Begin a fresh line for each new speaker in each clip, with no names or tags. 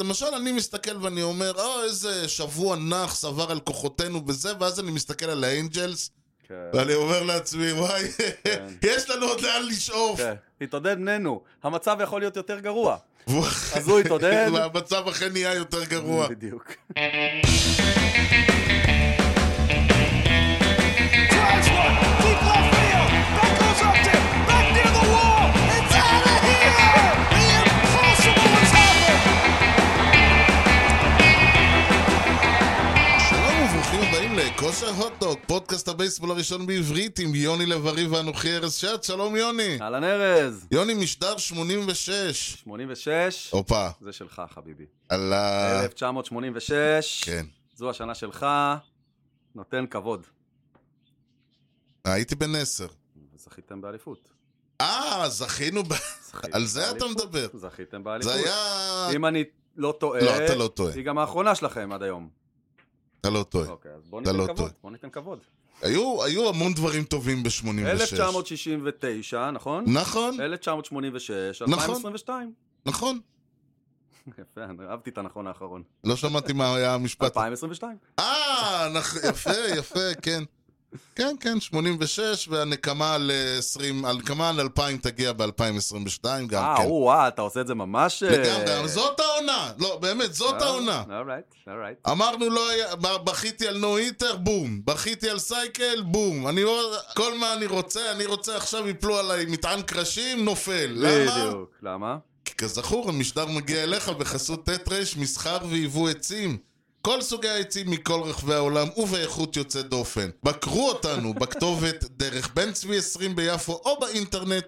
למשל, אני מסתכל ואני אומר, אה, איזה שבוע נח סבר על כוחותינו בזה, ואז אני מסתכל על האנג'לס,
כן,
ואני אומר לעצמי, וואי,
כן.
יש לנו עוד לאן לשאוף.
כן. תתעודד ננו, המצב יכול להיות יותר גרוע.
והוא-
אז הוא התעודד.
והמצב אכן נהיה יותר גרוע.
בדיוק.
drives one, deep left field. That goes up to back near the wall. It's out of here. The impossible has happened.
שלום וברוכים הבאים לכושר הוטדוק, פודקאסט הבייסבול הראשון בעברית עם יוני לב-ארי ואנוכי ארז שעד, שלום יוני.
אהלן ארז,
יוני משדר 86.
86,
הופה,
זה שלך חביבי.
על ה...
1986,
אה. כן.
זו השנה שלך, נותן כבוד.
הייתי בן 10.
זכיתם באליפות.
אה, זכינו ב...
זכיתם
על זה אתה
באליפות.
מדבר.
זכיתם באליפות.
זה היה...
אם אני לא טועה,
לא, אתה לא טועה.
היא גם האחרונה שלכם עד היום.
אתה לא טועה.
אוקיי, אז בוא
אתה
ניתן
לא
כבוד,
טועה.
בוא ניתן כבוד.
היו היו המון דברים טובים ב-86.
1969, נכון?
נכון,
1986,
נכון.
2022.
נכון.
יפה, אני אהבתי את הנכון האחרון.
לא שמעתי מה היה המשפט.
2022.
אה, נכ- יפה, יפה, כן. כן, כן, 86, והנקמה על אה, 20, הנקמה על 2000 תגיע ב-2022 גם
אה,
כן.
וואו, אתה עושה את זה ממש... אה,
לגמרי, אבל זאת העונה. לא, באמת, זאת
אה,
העונה.
אורייט, אורייט.
אמרנו לא היה, ב- בכיתי על נו היטר, בום. בכיתי על סייקל, בום. אני לא, כל מה אני רוצה, אני רוצה עכשיו יפלו עליי מטען קרשים, נופל. למה?
בדיוק, למה?
כי כזכור, המשדר מגיע אליך בחסות ט' ר' מסחר ויבוא עצים. כל סוגי העצים מכל רחבי העולם ובאיכות יוצאת דופן. בקרו אותנו בכתובת דרך בן צבי 20 ביפו או באינטרנט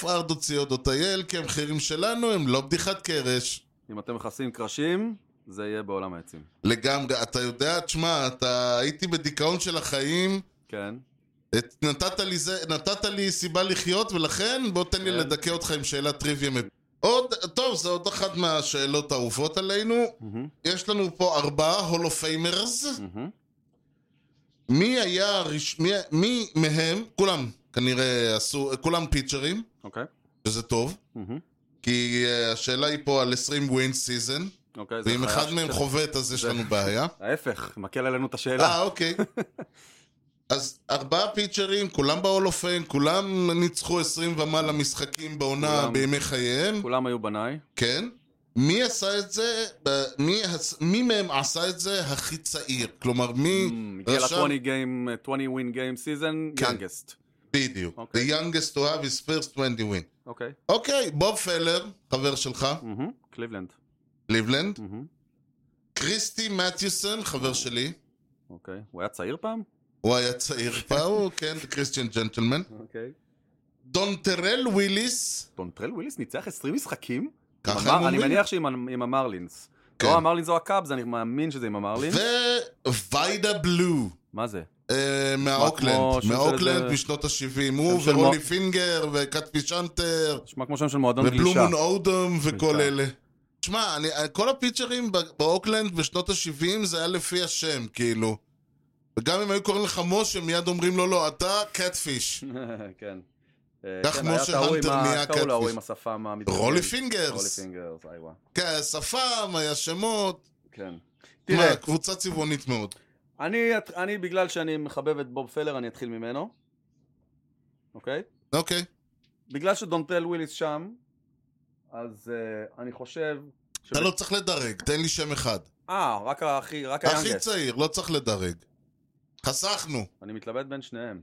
tima.co.il כי המחירים שלנו הם לא בדיחת קרש.
אם אתם מכסים קרשים, זה יהיה בעולם העצים.
לגמרי. אתה יודע, תשמע, אתה הייתי בדיכאון של החיים,
כן,
את- נתת לי, זה, נתת לי סיבה לחיות, ולכן בוא תן לי
כן.
לדכא אותך עם שאלת טריוויה. מפ- עוד, טוב, זו עוד אחת מהשאלות האהובות עלינו.
מהמם,
יש לנו פה ארבעה הולו פיימרס.
מהמם.
מי היה הראש... מי... מי מהם, כולם כנראה עשו, כולם פיצ'רים,
אוקיי.
שזה טוב,
מהמם.
כי אה, השאלה היא פה על 20 ווינד סיזן,
אוקיי, זה
ואם
חיה
אחד מהם
ש-
חובט אז יש
זה-
לנו בעיה.
ההפך, מקל עלינו את השאלה.
אה, אוקיי. אז ארבעה פיצ'רים, כולם בהולו פיים, כולם ניצחו 20 ומעלה משחקים בעונה
כולם.
בימי חייהם,
כולם היו בניי.
כן. מי עשה את זה, ב- מי הס- מי מהם עשה את זה הכי צעיר? כלומר, מי
Mm, הגיע
רשם...
ל-20 גיים, 20 win game season,
כן.
youngest.
בדיוק. The
אוקיי.
youngest to have his first 20 win.
אוקיי.
אוקיי, בוב פלר, חבר שלך,
מהמם, קליבלנד.
ליבלנד.
מהמם,
קריסטי מתיוסון, חבר שלי.
אוקיי. הוא היה צעיר פעם?
הוא היה צעיר פעם, הוא כן, קריסטיאן ג'נטלמן.
אוקיי.
דון טרל וויליס.
דונטרל וויליס ניצח 20 משחקים?
ככה
עם
הם
המר-
אומרים.
אני מניח שעם ה- עם המרלינס.
כן.
לא המרלינס או הקאבס, אני מאמין שזה עם המרלינס.
וויידה בלו.
מה זה?
אה,
כמו
מהאוקלנד,
שם של
מהאוקלנד
איזה-
משנות ה-70, הוא
של
ורולי
מוע-
פינגר וקאטפי צ'נטר
נשמע כמו שם של מועדון גלישה.
ובלומון אודום וכל
גלישה.
אלה. שמע, אני- כל הפיצ'רים ב- באוקלנד בשנות ה-70 זה היה לפי השם, כאילו. וגם אם היו קוראים לך משה, מיד אומרים לו, לא, אתה קאטפיש.
כן. אה,
כך
כן,
משה
היה את ההוא
הנטר
עם ה-
נהיה
איך קראו לו, ההוא
קטפיש.
עם השפם המתגלגלת.
רולי
כן, רולי
פינגרס.
פינגרס, איי וואי.
כן, היה שפם, היה שמות.
כן. תראה,
תראה, קבוצה צבעונית מאוד.
אני, את- אני בגלל שאני מחבב את בוב פלר, אני אתחיל ממנו, אוקיי?
אוקיי.
בגלל שדונטרל וויליס שם, אז uh, אני חושב... ש-
אתה לא צריך לדרג, תן לי שם אחד.
אה, רק הכי, רק
הכי
היאנגסט.
צעיר, לא צריך לדרג. חסכנו.
אני מתלבט בין שניהם.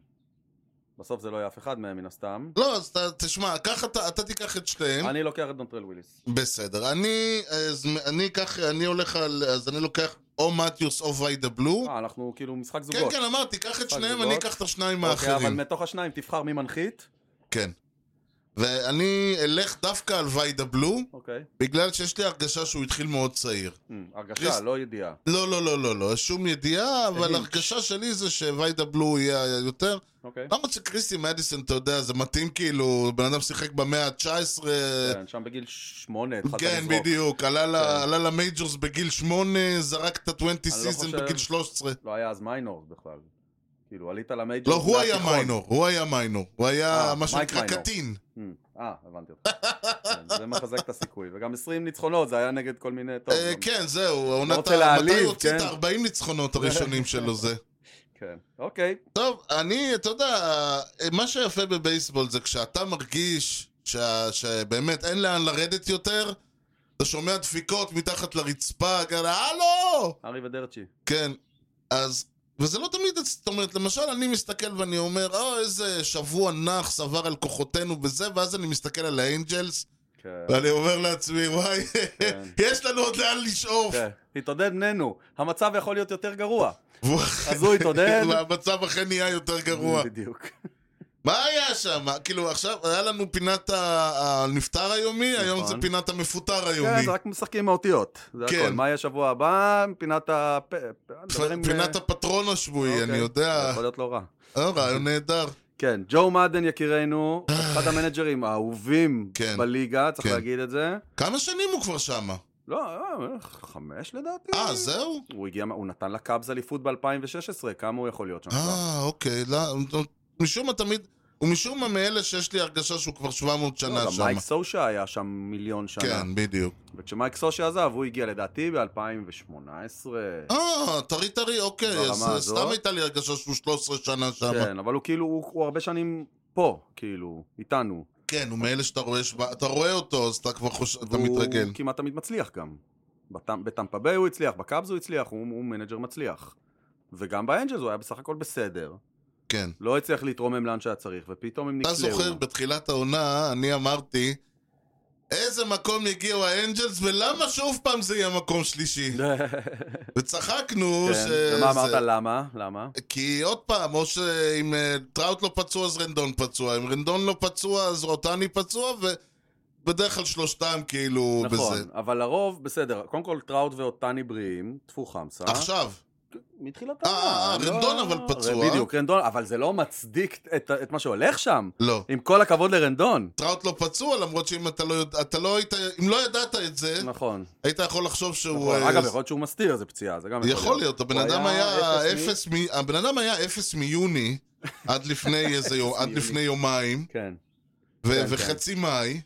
בסוף זה לא יהיה אף אחד מהם, מן הסתם.
לא, אז אתה- תשמע, קח אתה, אתה תיקח את שתיהם.
אני לוקח את דונטרל וויליס.
בסדר. אני, אז, אני אקח, אני הולך על, אז אני לוקח או מתיוס או ויידה בלו.
אה, אנחנו כאילו משחק זוגות.
כן, כן, אמרתי, קח את
משחק
שניהם,
זוגות.
אני אקח את השניים
אוקיי,
האחרים.
אבל מתוך השניים תבחר מי מנחית.
כן. ואני אלך דווקא על ויידה בלו,
אוקיי.
בגלל שיש לי הרגשה שהוא התחיל מאוד צעיר.
Hmm, הרגשה,
קריס-
לא ידיעה.
לא, לא, לא, לא, לא, שום ידיעה, אבל
אהים.
הרגשה שלי זה שוויידה בלו יהיה יותר.
אוקיי.
למה שקריסטי מדיסון, אתה יודע, זה מתאים כאילו, בן אדם שיחק במאה ה-19,
כן, שם בגיל שמונה התחלת
אה, כן,
לזרוק.
בדיוק, עלה ל-
כן.
עלה למייג'ורס בגיל שמונה, זרק את ה-20
אני לא
סיזן
חושב-
בגיל 13.
לא היה אז מיינורס בכלל. כאילו, עלית למייג'ור.
לא, הוא היה
מהתיכון.
מיינור, הוא היה מיינור. הוא היה
אה,
מה
מייק
שנקרא
מיינור.
קטין.
אמ, אה, הבנתי אותך. כן, זה מחזק את הסיכוי. וגם 20 ניצחונות, זה היה נגד כל מיני... טוב,
אה,
גם-
כן, זהו,
לא
העונת
רוצה
ה... מתי
להעליב,
הוא הוציא את
כן.
ה-40 ניצחונות הראשונים שלו זה?
כן. אוקיי.
טוב, אני, אתה יודע, מה שיפה בבייסבול זה כשאתה מרגיש שה- שבאמת אין לאן לרדת יותר, אתה שומע דפיקות מתחת לרצפה, כאלה, הלו!
ארי ודרצ'י.
כן, אז... וזה לא תמיד, זאת אומרת, למשל, אני מסתכל ואני אומר, או, איזה שבוע נח סבר על כוחותינו בזה, ואז אני מסתכל על האנג'לס,
כן.
ואני אומר לעצמי, וואי,
כן.
יש לנו עוד לאן לשאוף.
כן. התעודד ננו. המצב יכול להיות יותר גרוע.
והוא-
אז הוא התעודד.
לא, והמצב אכן נהיה יותר גרוע.
כן. בדיוק.
מה היה שם? כאילו עכשיו, היה לנו פינת ה- הנפטר היומי, היום זה פינת המפוטר
נכון. כן,
היומי.
זה רק משחקים עם האותיות. זה
כן.
הכל. מה יהיה שבוע הבא? פינת ה... פ- פ- נדבר עם-
פינת הפטרון השבועי, אני
אה, אוקיי. זה
יודע.
יכול להיות לא רע.
אה, רעיון נהדר.
כן, ג'ו מאדן יקירנו, אחד המנג'רים האהובים
אה. כן.
בליגה, צריך
כן.
להגיד את זה.
כמה שנים הוא כבר שמה?
לא, אה, חמש לדעתי.
אה, זהו?
הוא הגיע, מה- הוא נתן לקאבס אליפות ב-2016, כמה הוא יכול להיות שם כבר?
אה, אוקיי. לא, משום מה תמיד... הוא משום מה מאלה שיש לי הרגשה שהוא כבר 700
לא,
שנה
גם
שם.
מייק סושה היה שם מיליון שנה.
כן, בדיוק.
וכשמייק סושה עזב, הוא הגיע לדעתי ב-2018.
אה, טרי טרי, אוקיי.
ברמה
אז
הזאת.
סתם הייתה לי הרגשה שהוא 13 שנה שם.
כן, אבל הוא כאילו, הוא הוא הרבה שנים פה, כאילו, איתנו.
כן, הוא מאלה שאתה רואה, שבא- אתה רואה אותו, אז אתה כבר חושב, אתה
והוא
מתרגל.
כמעט תמיד מצליח גם. בטמ- בטמפה ביי הוא הצליח, בקאבס הוא הצליח, הוא הוא מנג'ר מצליח. וגם באנג'לס הוא היה בסך הכל בסדר.
כן.
לא הצליח להתרומם לאן שהיה צריך, ופתאום הם
אתה
נקלעו.
זוכר, בתחילת העונה, אני אמרתי, איזה מקום יגיעו האנג'לס, ולמה שוב פעם זה יהיה מקום שלישי? וצחקנו
כן,
ש...
ומה
אה, זה-
אמרת? למה? למה?
כי עוד פעם, או שאם אה, טראוט לא פצוע, אז רנדון פצוע. אם רנדון לא פצוע, אז רוטני פצוע, ובדרך כלל שלושתם כאילו
נכון,
בזה.
אבל לרוב, בסדר. קודם כל, טראוט ואותני בריאים, טפו חמסה.
עכשיו,
מתחילת
אה, אה,
העונה,
רנדון
לא-
אבל פצוע.
בדיוק, רנדון, אבל זה לא מצדיק את את מה שהולך שם.
לא.
עם כל הכבוד לרנדון.
טראוט לא פצוע, למרות שאם אתה לא יודע, אתה לא היית, אם לא ידעת את זה,
נכון.
היית יכול לחשוב שהוא...
נכון.
אה,
אגב, יכול להיות שהוא מסתיר איזה פציעה, זה גם
יכול להיות, הבן
הוא
אדם היה אפס
מ-
מ... הבן אדם היה אפס מיוני עד לפני איזה יום, עד
מיוני.
לפני יומיים,
כן.
ו-
כן.
וחצי מאי.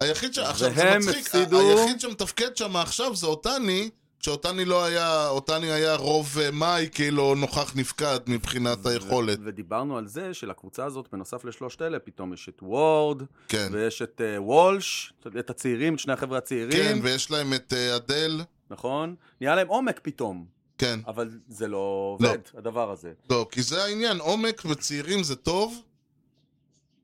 היחיד ש... עכשיו זה
והם
מצחיק, ה-
הפסידו-
היחיד שמתפקד שם עכשיו זה אותני, שאותני לא היה, אותני היה רוב אה, מאי כאילו נוכח נפקד מבחינת היכולת,
ו- ודיברנו על זה שלקבוצה הזאת, בנוסף לשלושת אלה, פתאום יש את וורד,
כן.
ויש את אה, וולש, את הצעירים, את שני החבר'ה
כן,
הצעירים,
ויש להם את אה, אדל,
נכון? נהיה להם עומק פתאום,
כן,
אבל זה לא
לא.
עובד, הדבר הזה.
לא, כי זה העניין, עומק וצעירים זה טוב,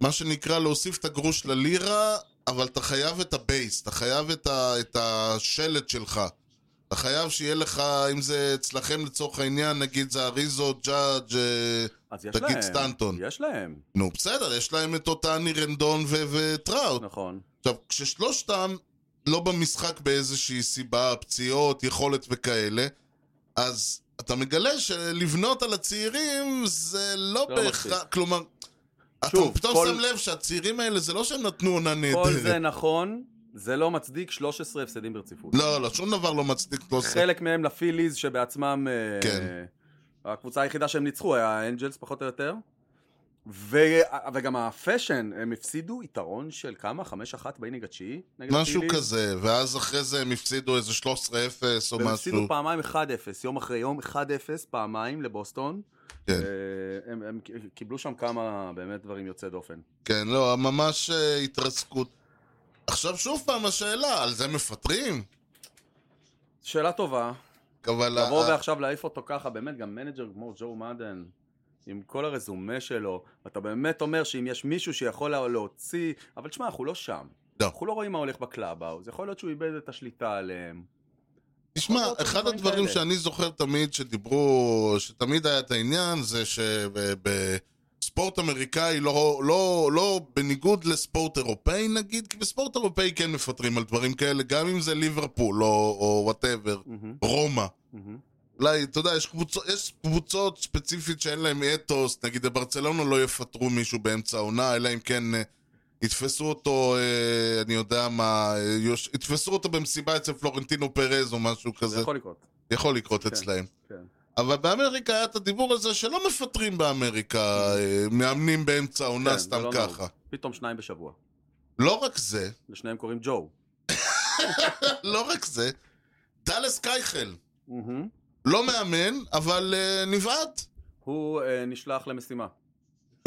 מה שנקרא להוסיף את הגרוש ללירה, אבל אתה חייב את הבייס, אתה חייב את, ה, את השלט שלך. אתה חייב שיהיה לך, אם זה אצלכם לצורך העניין, נגיד זה אריזו, ג'אג', אה,
אז יש
תגיד
להם.
סטנטון.
יש להם,
נו בסדר, יש להם את אותני רנדון ו- וטראוט.
נכון.
עכשיו, כששלושתם לא במשחק באיזושהי סיבה, פציעות, יכולת וכאלה, אז אתה מגלה שלבנות על הצעירים זה לא
לא
בהכרח,
מספיק.
כלומר,
שוב,
אתה פתאום
כל-
שם לב שהצעירים האלה, זה לא שהם נתנו עונה
כל זה
נהדרת.
נכון, זה לא מצדיק 13 הפסדים ברציפות.
לא, לא, שום דבר לא מצדיק לא זה.
חלק מהם לפיליז שבעצמם... אה,
כן.
הקבוצה היחידה שהם ניצחו היה האנג'לס פחות או יותר. ו- וגם הפאשן, הם הפסידו יתרון של כמה? 5-1 באינינג התשיעי? נגד
משהו
הפיליז?
כזה, ואז אחרי זה הם הפסידו איזה 13-0 או
והם הפסידו
משהו.
פעמיים 1-0, יום אחרי יום 1-0 פעמיים לבוסטון.
כן.
אה, הם, הם קיבלו שם כמה באמת דברים יוצאי דופן.
כן, לא, ממש אה, התרסקות. עכשיו שוב פעם השאלה, על זה מפטרים?
שאלה טובה,
אבל...
לבוא
ה-
ועכשיו להעיף אותו ככה, באמת, גם מנג'ר כמו ג'ו מאדן, עם כל הרזומה שלו, אתה באמת אומר שאם יש מישהו שיכול לה- להוציא, אבל תשמע, אנחנו לא שם.
לא.
אנחנו לא רואים מה הולך בקלאבהאוז, יכול להיות שהוא איבד את השליטה עליהם.
תשמע,
יכול להיות
אחד
דברים
הדברים
כאלה.
שאני זוכר תמיד שדיברו, שתמיד היה את העניין, זה שבספורט אמריקאי, לא, לא, לא בניגוד לספורט אירופאי נגיד, כי בספורט אירופאי כן מפטרים על דברים כאלה, גם אם זה ליברפול או וואטאבר,
מהמם,
רומא.
מהמם.
אולי, אתה יודע, יש קבוצות, יש קבוצות ספציפית שאין להן אתוס, נגיד ברצלונה לא יפטרו מישהו באמצע העונה, אלא אם כן אה, יתפסו אותו, אה, אני יודע מה, אה, יוש... יתפסו אותו במסיבה אצל פלורנטינו פרז או משהו כזה.
זה יכול לקרות.
יכול לקרות
כן,
אצלהם.
כן.
אבל באמריקה היה את הדיבור הזה שלא מפטרים באמריקה אה, מאמנים באמצע העונה
כן, זה
סתם
לא נורא.
ככה.
פתאום שניים בשבוע.
לא רק זה,
לשניהם קוראים ג'ו.
לא רק זה, דלס קייחל,
מהמם.
לא מאמן, אבל אה, נבעט.
הוא אה, נשלח למשימה.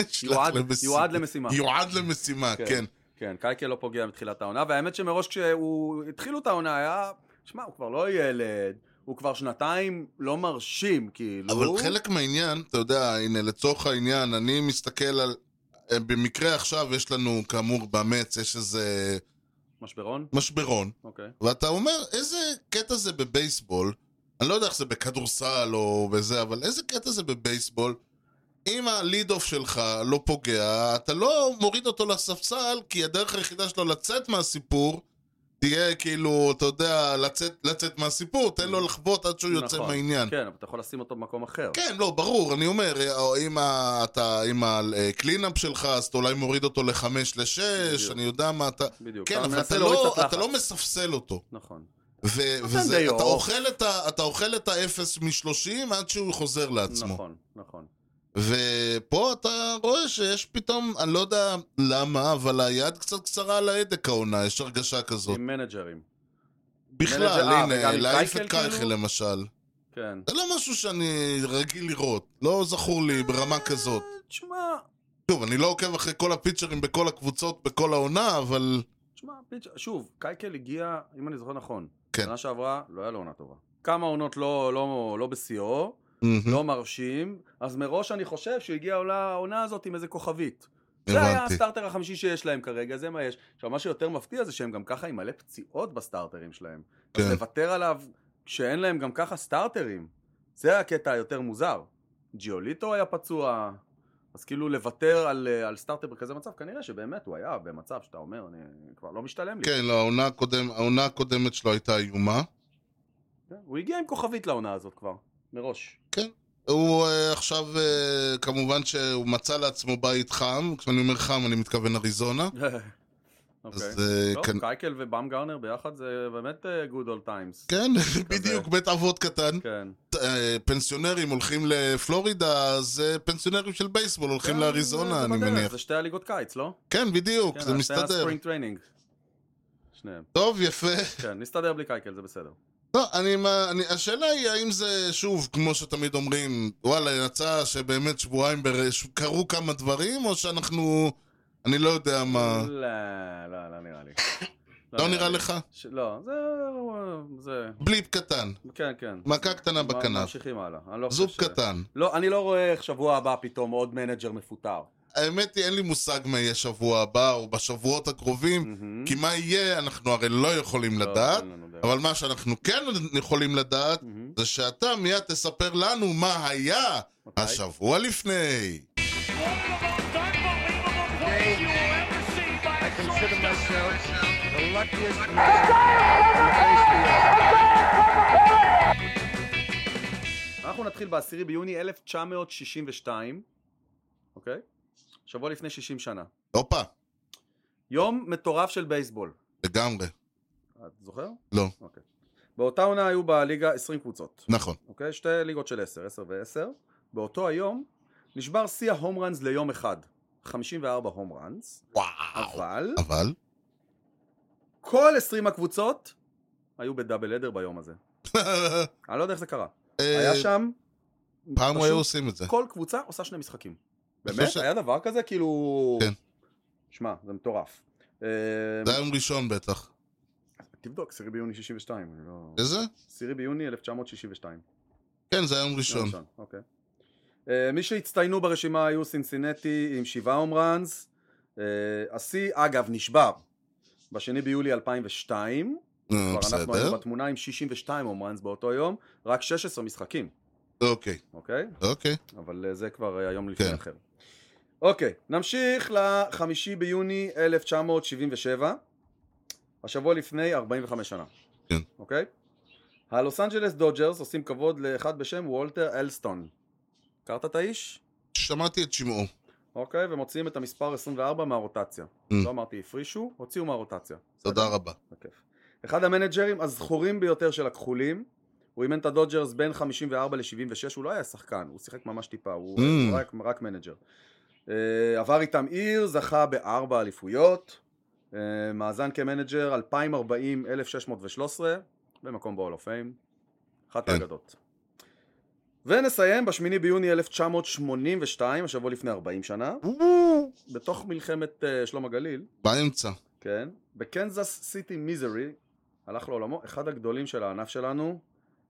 נשלח
יועד-
למשימה.
יועד למשימה.
יועד למשימה,
כן.
כן.
כן, קייקה לא פוגע מתחילת העונה, והאמת שמראש כשהוא התחילו את העונה היה... שמע, הוא כבר לא ילד, הוא כבר שנתיים לא מרשים, כאילו.
אבל חלק מהעניין, אתה יודע, הנה, לצורך העניין, אני מסתכל על... אה, במקרה עכשיו יש לנו, כאמור, במץ, יש איזה
משברון?
משברון,
אוקיי.
ואתה אומר, איזה קטע זה בבייסבול, אני לא יודע איך זה בכדורסל או בזה, אבל איזה קטע זה בבייסבול, אם הליד אוף שלך לא פוגע, אתה לא מוריד אותו לספסל, כי הדרך היחידה שלו לצאת מהסיפור, תהיה כאילו, אתה יודע, לצאת, לצאת מהסיפור, תן לו לחבוט עד שהוא יוצא
נכון.
מהעניין.
כן, אבל אתה יכול לשים אותו במקום אחר.
כן, לא, ברור, אני אומר, או אם ה- אתה עם הקלינאפ שלך, אז אתה אולי מוריד אותו לחמש לשש,
בדיוק.
אני יודע מה אתה...
בדיוק.
כן, אבל
מנסה
אתה
להוריד
לא,
קצת
אתה
לחץ.
לא מספסל אותו.
נכון.
ו-
נותן
וזה,
דיו.
אתה אוכל את ה- אתה אוכל את האפס משלושים עד שהוא חוזר לעצמו.
נכון, נכון.
ופה אתה רואה שיש פתאום, אני לא יודע למה, אבל היד קצת קצרה על ההדק העונה, יש הרגשה כזאת.
עם מנג'רים.
בכלל,
אה,
הנה,
וגם עם
להעיף
קייקל,
את קייכל
כאילו?
למשל.
כן.
זה לא משהו שאני רגיל לראות, לא זכור לי ברמה כזאת.
אה, תשמע,
שוב, אני לא עוקב אחרי כל הפיצ'רים בכל הקבוצות בכל העונה, אבל...
תשמע, פיץ', שוב, קייקל הגיע, אם אני זוכר נכון.
כן.
שנה שעברה, לא היה לו עונה טובה. כמה עונות לא, לא, לא בשיאו, לא מרשים, אז מראש אני חושב שהגיעה העונה הזאת עם איזה כוכבית. זה היה
הבנתי.
הסטארטר החמישי שיש להם כרגע, זה מה יש. עכשיו, מה שיותר מפתיע זה שהם גם ככה עם מלא פציעות בסטארטרים שלהם. אז
כן.
לוותר עליו כשאין להם גם ככה סטארטרים, זה הקטע היותר מוזר. ג'יוליטו היה פצוע, אז כאילו לוותר על, אה, על סטארטר בכזה מצב, כנראה שבאמת הוא היה במצב שאתה אומר, אני כבר לא משתלם לי.
כן, לא, העונה, הקודם, העונה הקודמת שלו הייתה איומה.
כן. הוא הגיע עם כוכבית לעונה הזאת כבר, מראש.
הוא אה, עכשיו, אה, כמובן שהוא מצא לעצמו בית חם, כשאני אומר חם אני מתכוון אריזונה.
אוקיי.
אז אה,
טוב,
כאן-
קייקל ובאם גרנר ביחד זה באמת אה, good old times.
כן, בדיוק, בית אבות קטן.
כן.
אה, פנסיונרים הולכים לפלורידה, אז אה, פנסיונרים של בייסבול הולכים
כן,
לאריזונה,
זה
אני
בדרך,
מניח.
זה שתי הליגות קיץ, לא?
כן, בדיוק, זה מסתדר.
ספרינג טריינינג. שניהם.
טוב, יפה.
כן, נסתדר בלי קייקל, זה בסדר.
לא, אני, מה- אני, השאלה היא האם זה, שוב, כמו שתמיד אומרים, וואלה, יצא שבאמת שבועיים בר... ש- קרו כמה דברים, או שאנחנו, אני לא יודע מה,
לא, לא, לא נראה לי.
לא נראה לך?
ש- לא, זה... זה...
בליפ קטן,
כן, כן.
מכה קטנה
מ-
בכנף,
ממשיכים הלאה. אני לא
זוג
חושב ש-
קטן.
לא, אני לא רואה איך שבוע הבא פתאום עוד מנג'ר מפוטר.
האמת היא, אין לי מושג מה יהיה שבוע הבא, או בשבועות הקרובים,
מהמם.
כי מה יהיה, אנחנו הרי לא יכולים
לא,
לדעת,
אין לנו דרך.
אבל מה שאנחנו כן יכולים לדעת,
מהמם.
זה שאתה מיד תספר לנו מה היה
מתי?
השבוע לפני.
I consider myself the luckiest man.
אנחנו נתחיל ב-10 ביוני 1962, אוקיי? שבוע לפני 60 שנה.
הופה,
יום מטורף של בייסבול.
לגמרי,
את זוכר?
לא,
אוקיי. באותה עונה היו בליגה 20 קבוצות.
נכון.
אוקיי? שתי ליגות של 10, 10 ו-10. באותו היום נשבר שיא ההום ראנס ליום אחד. 54 הום ראנס.
וואו.
אבל
אבל?
כל 20 הקבוצות היו בדאבל אדר ביום הזה. אני לא יודע איך זה קרה. היה שם...
אה, פעם
פשוט
היו עושים את זה.
כל קבוצה עושה שני משחקים.
חושב
באמת?
ש-
היה דבר כזה? כאילו...
כן.
שמע, זה מטורף. אה,
זה היה יום ראשון בטח.
תבדוק, 10 ביוני 62. אני לא-
איזה?
10 ביוני 1962.
כן, זה היה יום ראשון.
ראשון, אוקיי. אה, מי שהצטיינו ברשימה היו סינסינטי עם שבעה הום ראנס. אה, השיא, אגב, נשבר. בשני ביולי 2002,
אה,
כבר אנחנו
בסדר.
היינו בתמונה עם 62 הום ראנס באותו יום, רק 16 משחקים,
אוקיי,
אוקיי?
אוקיי.
אבל אה, זה כבר היה יום לפני
כן.
אחר. אוקיי, נמשיך לחמישי ביוני 1977, השבוע לפני 45 שנה.
כן.
אוקיי? הלוס אנג'לס דודג'רס עושים כבוד לאחד בשם וולטר אלסטון. הכרת את האיש?
שמעתי את שמעו.
אוקיי, ומוציאים את המספר 24 מהרוטציה.
Mm.
לא אמרתי הפרישו, הוציאו מהרוטציה.
תודה רבה.
בכיף. אחד המנג'רים הזכורים ביותר של הכחולים, הוא אימן את הדודג'רס בין 54 ל-76, הוא לא היה שחקן, הוא שיחק ממש טיפה, הוא
Mm.
הוא רק, רק מנג'ר. אה, עבר איתם עיר, זכה בארבע אליפויות, אה, מאזן כמנג'ר 2040, 1613, במקום ב-all of fame, אחת
כן.
האגדות. ונסיים בשמיני ביוני 1982, השבוע לפני 40 שנה, בתוך מלחמת אה, שלום הגליל,
באמצע.
כן, בקנזס סיטי מיזרי, הלך לעולמו, אחד הגדולים של הענף שלנו,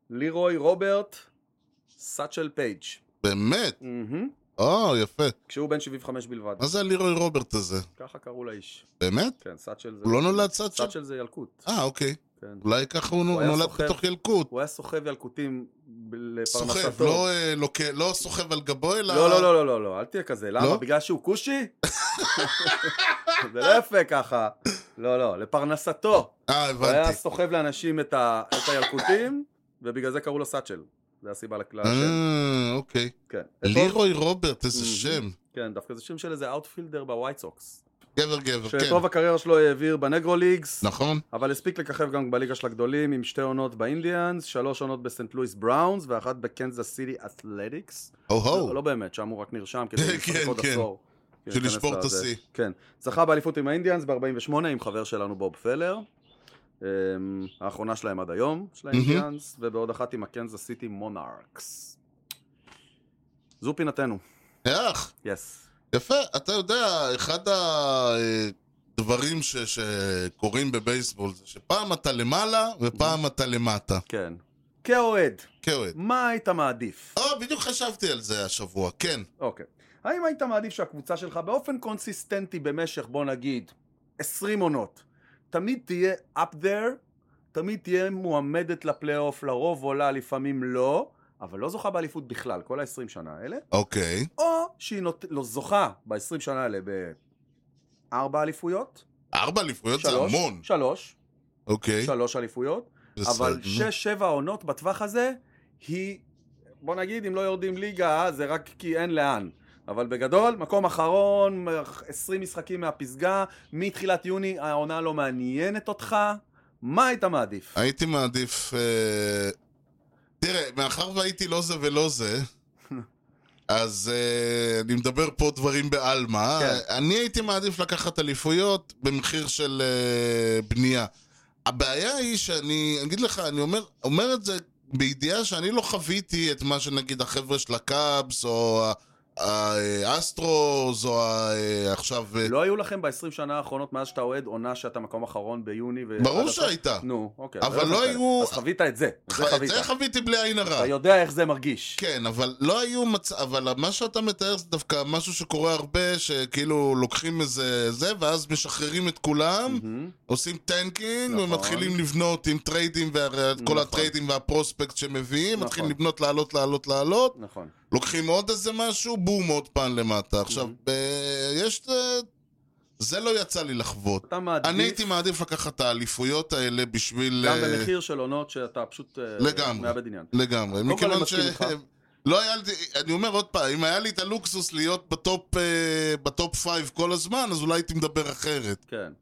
לירוי רוברט סאצ'ל פייג'.
באמת? או, יפה.
כשהוא בן 75 בלבד,
מה זה הלירוי רוברט הזה?
ככה קראו לאיש.
באמת?
כן, סאצ'ל זה...
הוא לא נולד סאצ'ל?
סאצ'ל זה ילקוט.
אה, אוקיי.
כן.
אולי ככה הוא
הוא היה
נולד
סוחב.
בתוך ילקוט.
הוא היה סוחב ילקוטים ב- לפרנסתו.
סוחב, לא, אה, לוקה- לא סוחב על גבו, אלא...
לא, לא, לא, לא, לא, לא, אל תהיה כזה. למה?
לא?
בגלל שהוא כושי? זה לא יפה ככה. לא, לא, לפרנסתו.
אה,
הוא היה
הבנתי.
סוחב לאנשים את ה- את הילקוטים, ובגלל זה קראו לו סאצ'ל. זה הסיבה לכלל השם.
אה, אוקיי.
כן. וטוב-
לירוי רוברט, איזה
Mhm.
שם.
כן, דווקא זה שם של איזה אאוטפילדר בווייט סוקס.
גבר גבר, כן.
שטוב הקריירה שלו העביר בנגרו ליגס,
נכון?
אבל הספיק לככב גם בליגה של הגדולים עם שתי עונות באינדיאנס, שלוש עונות בסנט לואיס בראונס ואחת בקנזס סיטי אתלטיקס.
או-הו.
לא לא באמת, שם הוא רק נרשם כדי
כן,
לשחק עוד
כן.
עשור. כן,
בשביל
להיכנס
לשבור את
לזה.
השיא.
כן. זכה באליפות עם האינדיאנס ב-48 עם חבר שלנו בוב פלר. אמ, האחרונה שלהם עד היום, של האינדיאנס, ובעוד אחת עם הקנזס סיטי מונארקס. זו פינתנו,
איך?
יס.
יפה, אתה יודע, אחד הדברים ש- שקורים בבייסבול זה שפעם אתה למעלה ופעם
Mm-hmm.
אתה למטה,
כן. כאוהד,
כאוהד.
מה היית מעדיף?
או, אה, בדיוק חשבתי על זה השבוע, כן.
אוקיי. האם היית מעדיף שהקבוצה שלך באופן קונסיסטנטי במשך, בוא נגיד, 20 עונות, תמיד תהיה up there, תמיד תהיה מועמדת לפלייאוף, לרוב עולה, לפעמים לא, אבל לא זוכה באליפות בכלל, כל ה-20 שנה האלה,
אוקיי,
או שהיא נות... לא זוכה ב-20 שנה האלה בארבע אליפויות,
ארבע אליפויות זה
שלוש,
המון.
שלוש,
אוקיי,
שלוש אליפויות, אבל
בסדר.
שש, שבע עונות בטווח הזה, היא, בוא נגיד, אם לא יורדים ליגה, זה רק כי אין לאן. אבל בגדול, מקום אחרון, 20 משחקים מהפסגה, מתחילת יוני העונה לא מעניינת אותך, מה היית מעדיף?
הייתי מעדיף... אה, תראה, מאחר והייתי לא זה ולא זה, אז אה, אני מדבר פה דברים בעלמא.
כן.
אני הייתי מעדיף לקחת אליפויות במחיר של אה, בנייה. הבעיה היא שאני, אגיד לך, אני אומר, אומר את זה בידיעה שאני לא חוויתי את מה שנגיד החבר'ה של הקאבס, או ה- האסטרוס, או ה- אה, עכשיו... אה,
לא היו לכם ב-20 שנה האחרונות מאז שאתה אוהד עונה שאתה מקום אחרון ביוני ו...
ברור
עד עכשיו?
שהייתה.
נו, אוקיי.
אבל
אז
לא
לכם.
היו-
אז חווית את זה, את זה
את
חווית.
זה חוויתי בלי עין הרע.
אתה יודע איך זה מרגיש.
כן, אבל לא היו מצ... אבל מה שאתה מתאר זה דווקא משהו שקורה הרבה, שכאילו לוקחים איזה זה, ואז משחררים את כולם,
מהמם.
עושים טנקינג,
נכון.
ומתחילים לבנות עם טריידים, וה...
נכון.
כל הטריידים והפרוספקט שמביאים,
נכון.
מתחילים לבנות, לעלות, לעלות, לעלות,
נכון.
לוקחים עוד איזה משהו, בום, עוד פעם למטה. עכשיו, ב... יש... אה, זה לא יצא לי לחוות.
אתה מעדיף...
אני הייתי מעדיף לקחת את האליפויות האלה בשביל...
גם
אה,
במחיר של עונות שאתה פשוט... אה,
לגמרי.
מאבד עניין.
לגמרי,
כל אני
מכיוון ש...
מסכים איתך.
לא היה לי, אני אומר עוד פעם, אם היה לי את הלוקסוס להיות בטופ, אה, בטופ פייב כל הזמן, אז אולי הייתי מדבר אחרת.
כן.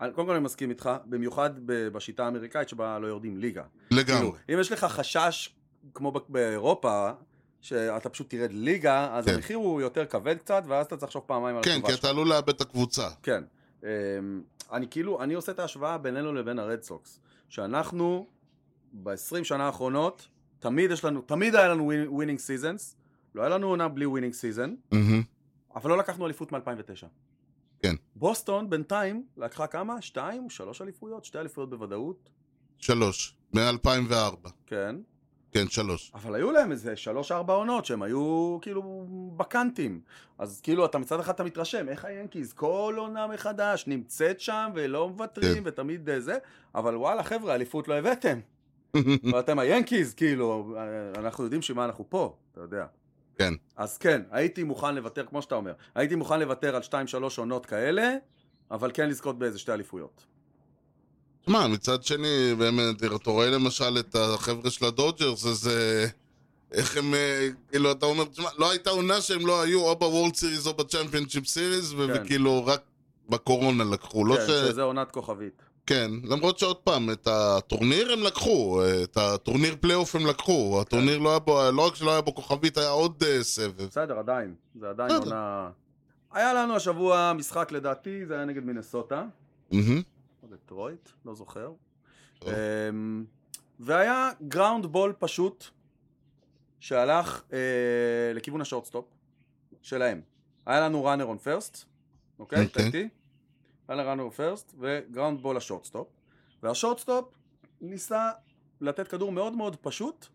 אני- קודם כל אני מסכים איתך, במיוחד ב- בשיטה האמריקאית שבה לא יורדים ליגה.
לגמרי.
כאילו, אם יש לך חשש, כמו ב- באירופה, שאתה פשוט תרד ליגה, אז
כן.
המחיר הוא יותר כבד קצת, ואז אתה צריך לחשוב פעמיים על
כן,
התשובה
כי אתה עלול לאבד את הקבוצה.
כן. אמ, אני כאילו, אני עושה את ההשוואה בינינו לבין הרד סוקס. שאנחנו, ב-20 שנה האחרונות, תמיד יש לנו, תמיד היה לנו ווינינג סיזנס. לא היה לנו עונה בלי ווינינג סיזן,
מהמם.
אבל לא לקחנו אליפות מ-2009.
כן.
בוסטון בינתיים לקחה כמה? שתיים? שלוש אליפויות? שתי אליפויות בוודאות?
שלוש. מ-2004.
כן.
כן, שלוש.
אבל היו להם איזה שלוש-ארבע עונות שהם היו כאילו בקאנטים. אז כאילו, אתה מצד אחד אתה מתרשם, איך היאנקיז כל עונה מחדש נמצאת שם ולא מוותרים
כן.
ותמיד אה, זה, אבל וואלה, חבר'ה, אליפות לא הבאתם. ואתם היאנקיז, כאילו, אה, אנחנו יודעים שמה אנחנו פה, אתה יודע.
כן.
אז כן, הייתי מוכן לוותר, כמו שאתה אומר, הייתי מוכן לוותר על שתיים-שלוש עונות כאלה, אבל כן לזכות באיזה שתי אליפויות.
שמע, מצד שני, באמת, אתה רואה למשל את החבר'ה של הדודג'רס, אז אה, איך הם, אה, כאילו, אתה אומר, תשמע, לא הייתה עונה שהם לא היו או בוולד סיריס או בצ'מפיונצ'יפ סיריס,
כן.
וכאילו, רק בקורונה לקחו. לא
כן,
ש...
שזה עונת כוכבית.
כן, למרות שעוד פעם, את הטורניר הם לקחו, את הטורניר פלייאוף הם לקחו, הטורניר לא היה בו, לא רק שלא היה בו כוכבית, היה עוד אה, סבב.
בסדר, עדיין. זה עדיין
בסדר.
עונה... היה לנו השבוע משחק לדעתי, זה היה נגד מינסוטה.
מהמם.
או דטרויט, לא זוכר.
טוב.
אמ, והיה גראונד בול פשוט שהלך אה, לכיוון השורטסטופ שלהם. היה לנו ראנר און פרסט, אוקיי? אתה
אוקיי.
איתי? היה לנו ראנר און פרסט וגראונד בול לשורטסטופ. והשורטסטופ ניסה לתת כדור מאוד מאוד פשוט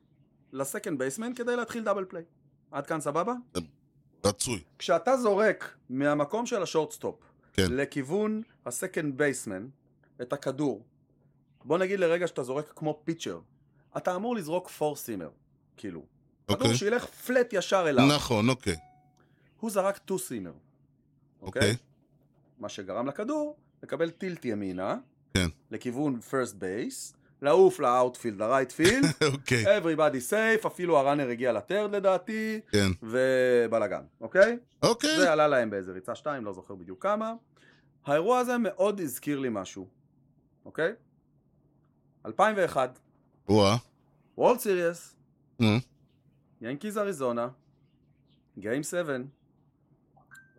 לסקנד בייסמן כדי להתחיל דאבל פליי. עד כאן סבבה?
רצוי.
כשאתה זורק מהמקום של השורטסטופ
כן.
לכיוון הסקנד בייסמן את הכדור, בוא נגיד לרגע שאתה זורק כמו פיצ'ר, אתה אמור לזרוק פורסימר, כאילו. כדור
אוקיי.
שילך פלט ישר אליו.
נכון, אוקיי.
הוא זרק טו סימר.
אוקיי.
מה שגרם לכדור לקבל טילט ימינה,
כן.
לכיוון פרסט בייס, לעוף לאאוטפילד, לרייטפילד,
אוקיי,
everybody safe, אפילו הראנר הגיע לטרד לדעתי,
כן.
ובלאגן, אוקיי?
אוקיי.
זה עלה להם באיזה ריצה שתיים, לא זוכר בדיוק כמה. האירוע הזה מאוד הזכיר לי משהו, אוקיי? 2001,
וואה.
וולד סיריוס,
אה,
ינקיז אריזונה, גיים 7,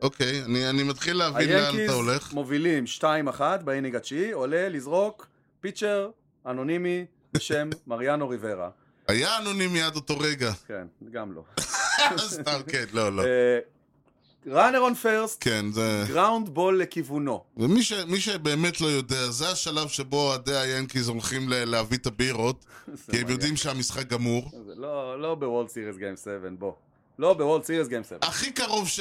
אוקיי, אני אני מתחיל להבין לאן
היאנקיז
אתה הולך.
מובילים 2-1 באינינג התשיעי, עולה לזרוק פיצ'ר אנונימי בשם מריאנו ריברה.
היה אנונימי עד אותו רגע.
כן, גם לא.
סתם, כן, לא,
אה.
לא.
ראנר און פרסט,
כן, זה...
גראונד בול לכיוונו.
ומי ש... מי שבאמת לא יודע, זה השלב שבו אוהדי היאנקיז הולכים ל... להביא את הבירות,
זה
כי הם
מריאנו.
יודעים שהמשחק גמור.
זה לא, לא בוולד סיריס גיים 7, בוא. לא בוולד סיריס גיים 7.
הכי קרוב, ש...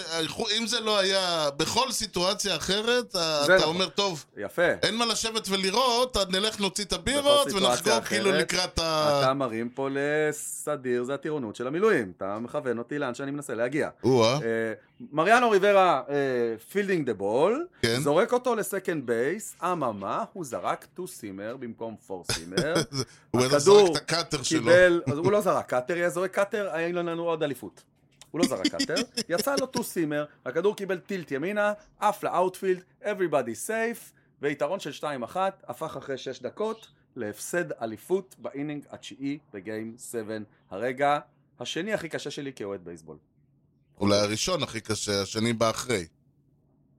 אם זה לא היה בכל סיטואציה אחרת, אתה
נכון.
אומר, טוב,
יפה.
אין מה לשבת ולראות, אז נלך נוציא את הבירות
בכל סיטואציה
ונחגוג כאילו
אחרת,
לקראת ה...
אתה מרים פה לסדיר, זה הטירונות של המילואים. אתה מכוון אותי לאן שאני מנסה להגיע.
או-אה,
אה, מריאנו ריברה אה, פילדינג דה בול,
כן.
זורק אותו לסקנד בייס, אממה, הוא זרק טו סימר במקום פור סימר,
הוא בטח
הכדור
זרק את הקאטר שלו.
קיבל, אז הוא לא זרק קאטר, היה זורק קאטר, היה לנו עוד אליפות. הוא לא זרק קאטר, יצא לו טו סימר, הכדור קיבל טילט ימינה, עף לאאוטפילד, everybody safe, ויתרון של 2-1, הפך אחרי 6 דקות להפסד אליפות באינינג התשיעי בגיים 7, הרגע השני הכי קשה שלי כאוהד בייסבול.
אולי הראשון הכי קשה, השני בא אחרי.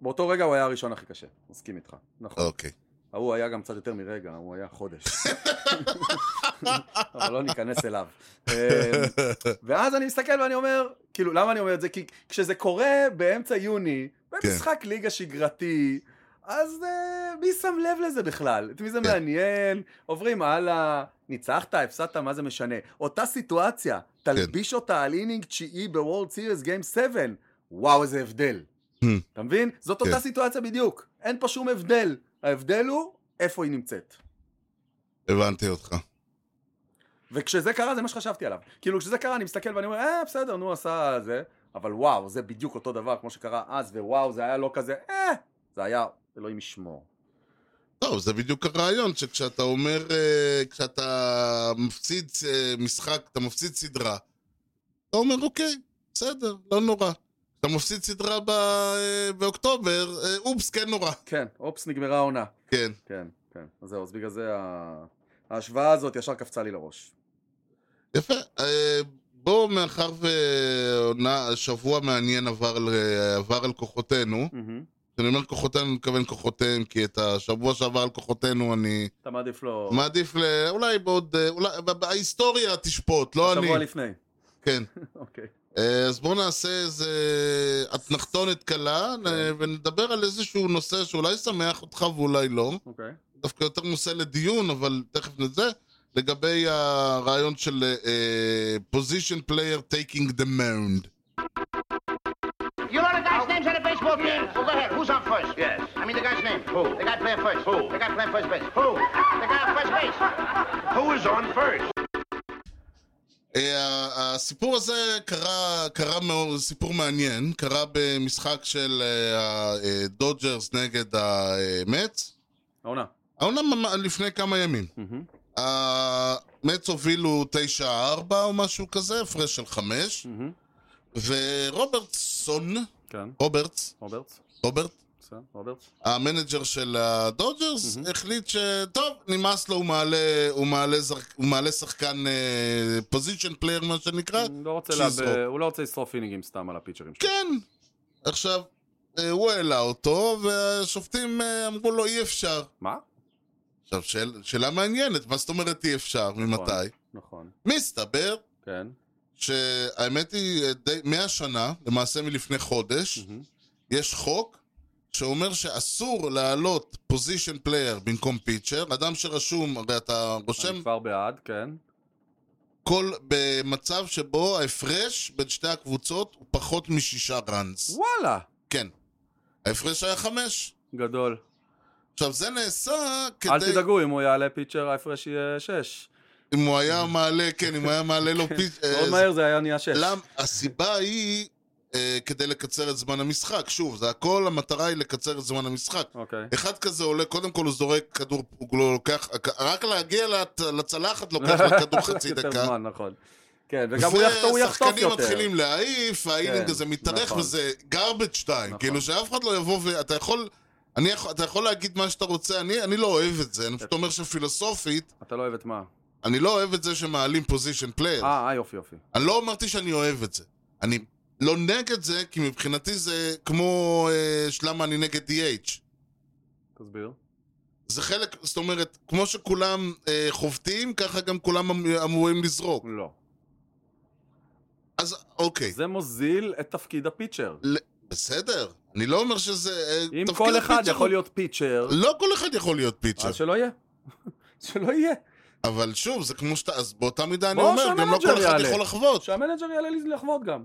באותו רגע הוא היה הראשון הכי קשה, מסכים איתך, נכון.
אוקיי.
ההוא היה גם קצת יותר מרגע, הוא היה חודש. אבל לא ניכנס אליו. אמ, ואז אני מסתכל ואני אומר, כאילו, למה אני אומר את זה? כי כשזה קורה באמצע יוני,
כן.
במשחק ליגה שגרתי, אז אה, מי שם לב לזה בכלל? את מי זה
כן.
מעניין? עוברים הלאה, ניצחת, הפסדת, מה זה משנה? אותה סיטואציה, תלביש אותה על אינינג תשיעי בוורלד סיריס גיים 7, וואו, איזה הבדל. אתה מבין? זאת אותה
Hmm. כן.
סיטואציה בדיוק. אין פה שום הבדל. ההבדל הוא איפה היא נמצאת.
הבנתי אותך.
וכשזה קרה זה מה שחשבתי עליו. כאילו כשזה קרה אני מסתכל ואני אומר, אה בסדר נו עשה זה, אבל וואו זה בדיוק אותו דבר כמו שקרה אז, ווואו זה היה לא כזה, אה, זה היה, אלוהים ישמור.
טוב, לא, זה בדיוק הרעיון, שכשאתה אומר, אה, כשאתה מפסיד אה, משחק, אתה מפסיד סדרה, אתה אומר, אוקיי, בסדר, לא נורא. אתה מפסיד סדרה ב... אה, באוקטובר, אה, אופס, כן נורא.
כן, אופס נגמרה העונה.
כן,
כן, כן. אז זהו, אז בגלל זה ה- ההשוואה הזאת ישר קפצה לי לראש.
יפה. אה, בואו, מאחר ושבוע מעניין עבר, ל- עבר על כוחותינו,
מהמם.
כשאני אומר כוחותינו, אני מתכוון כוחותיהם, כי את השבוע שעבר על כוחותינו אני
אתה מעדיף לא- לו
מעדיף ל... אולי בעוד... אה, אולי... ב- ב- ההיסטוריה תשפוט, לא אני.
שבוע לפני.
כן.
אוקיי.
אה, אז בואו נעשה איזה אתנחתונת קלה, נ- ונדבר על איזשהו נושא שאולי שמח אותך ואולי לא,
אוקיי.
דווקא יותר נושא לדיון, אבל תכף נזה, לגבי הרעיון של אה, position player taking the mound.
You know the guy's names on the baseball team? Well, go ahead. Who's on first? Yes. I mean the guy's name. Who? The guy playing first. Who? The guy playing first base. Who? The guy on first base. Who is on first?
אה, הסיפור הזה קרה, קרה מאוד, סיפור מעניין, קרה במשחק של אה, הדודג'רס נגד אה, המץ,
העונה.
העונה ממ- לפני כמה ימים.
מהמם.
המץ הובילו 9-4 או משהו כזה, הפרש של 5,
מהמם.
ורוברטסון,
כן.
רוברטס,
רוברטס.
רוברט,
רוברטס, אה? רוברטס?
המנג'ר של הדודג'רס החליט שטוב, נמאס לו, הוא מעלה, הוא מעלה, זרק, הוא מעלה שחקן פוזיישן פלייר, מה שנקרא.
הוא לא רוצה
אה, שיזרוק.
לאבד- הוא לא רוצה לשרוף אינינגים סתם על הפיצ'רים שלו.
כן. עכשיו, אה, הוא העלה אותו, והשופטים אה, אמרו לו אי אפשר.
מה?
עכשיו, שאל, שאלה מעניינת, מה זאת אומרת אי אפשר? ממתי?
נכון.
מסתבר
כן.
שהאמת היא, אה, די, 100 שנה, למעשה מלפני חודש,
מהמם.
יש חוק שאומר שאסור להעלות פוזיישן פלייר במקום פיצ'ר. אדם שרשום, הרי אתה רושם
אני כבר בעד, כן.
כל במצב שבו ההפרש בין שתי הקבוצות הוא פחות משישה ראנס.
וואלה!
כן. ההפרש היה חמש.
גדול.
עכשיו זה נעשה כדי... אה,
אל תדאגו, אם הוא יעלה פיצ'ר ההפרש יהיה 6.
אם הוא היה מעלה, כן, אם הוא היה מעלה לו פיצ'...
מאוד מהר זה היה נהיה 6.
למה? הסיבה היא אה, כדי לקצר את זמן המשחק. שוב, זה הכל, המטרה היא לקצר את זמן המשחק.
אוקיי.
אחד כזה עולה, קודם כל הוא זורק כדור, הוא לא לוקח, רק להגיע לת- לצלחת לוקח לו כדור חצי
יותר
דקה.
זמן, נכון. כן, וגם הוא יחטוף- הוא יחטוף יותר.
ושחקנים מתחילים להעיף, האינינג
כן,
הזה מתארך,
נכון.
וזה garbage time.
נכון.
כאילו שאף אחד לא יבוא ו... אתה יכול... אני, יכול- אתה יכול להגיד מה שאתה רוצה, אני, אני לא אוהב את זה, אני פשוט אומר שפילוסופית,
אתה לא אוהב את מה?
אני לא אוהב את זה שמעלים פוזיישן פלייר.
אה, אה, יופי, יופי.
אני לא אמרתי שאני אוהב את זה. אני לא נגד זה, כי מבחינתי זה כמו אה, למה אני נגד DH.
תסביר.
זה חלק, זאת אומרת, כמו שכולם אה, חובטים, ככה גם כולם אמ- אמורים לזרוק.
לא.
אז אוקיי,
זה מוזיל את תפקיד הפיצ'ר.
בסדר. אני לא אומר שזה... אה,
אם
תפקיד
כל אחד
הפיצ'ר
יכול
הוא-
להיות פיצ'ר,
לא כל אחד יכול להיות פיצ'ר.
אז שלא יהיה. שלא יהיה.
אבל שוב, זה כמו שאתה... אז באותה מידה אני
בוא,
אומר, גם לא
שהמנג'ר
כל אחד
יעלה.
יכול לחוות.
שהמנג'ר יעלה לי לחוות גם.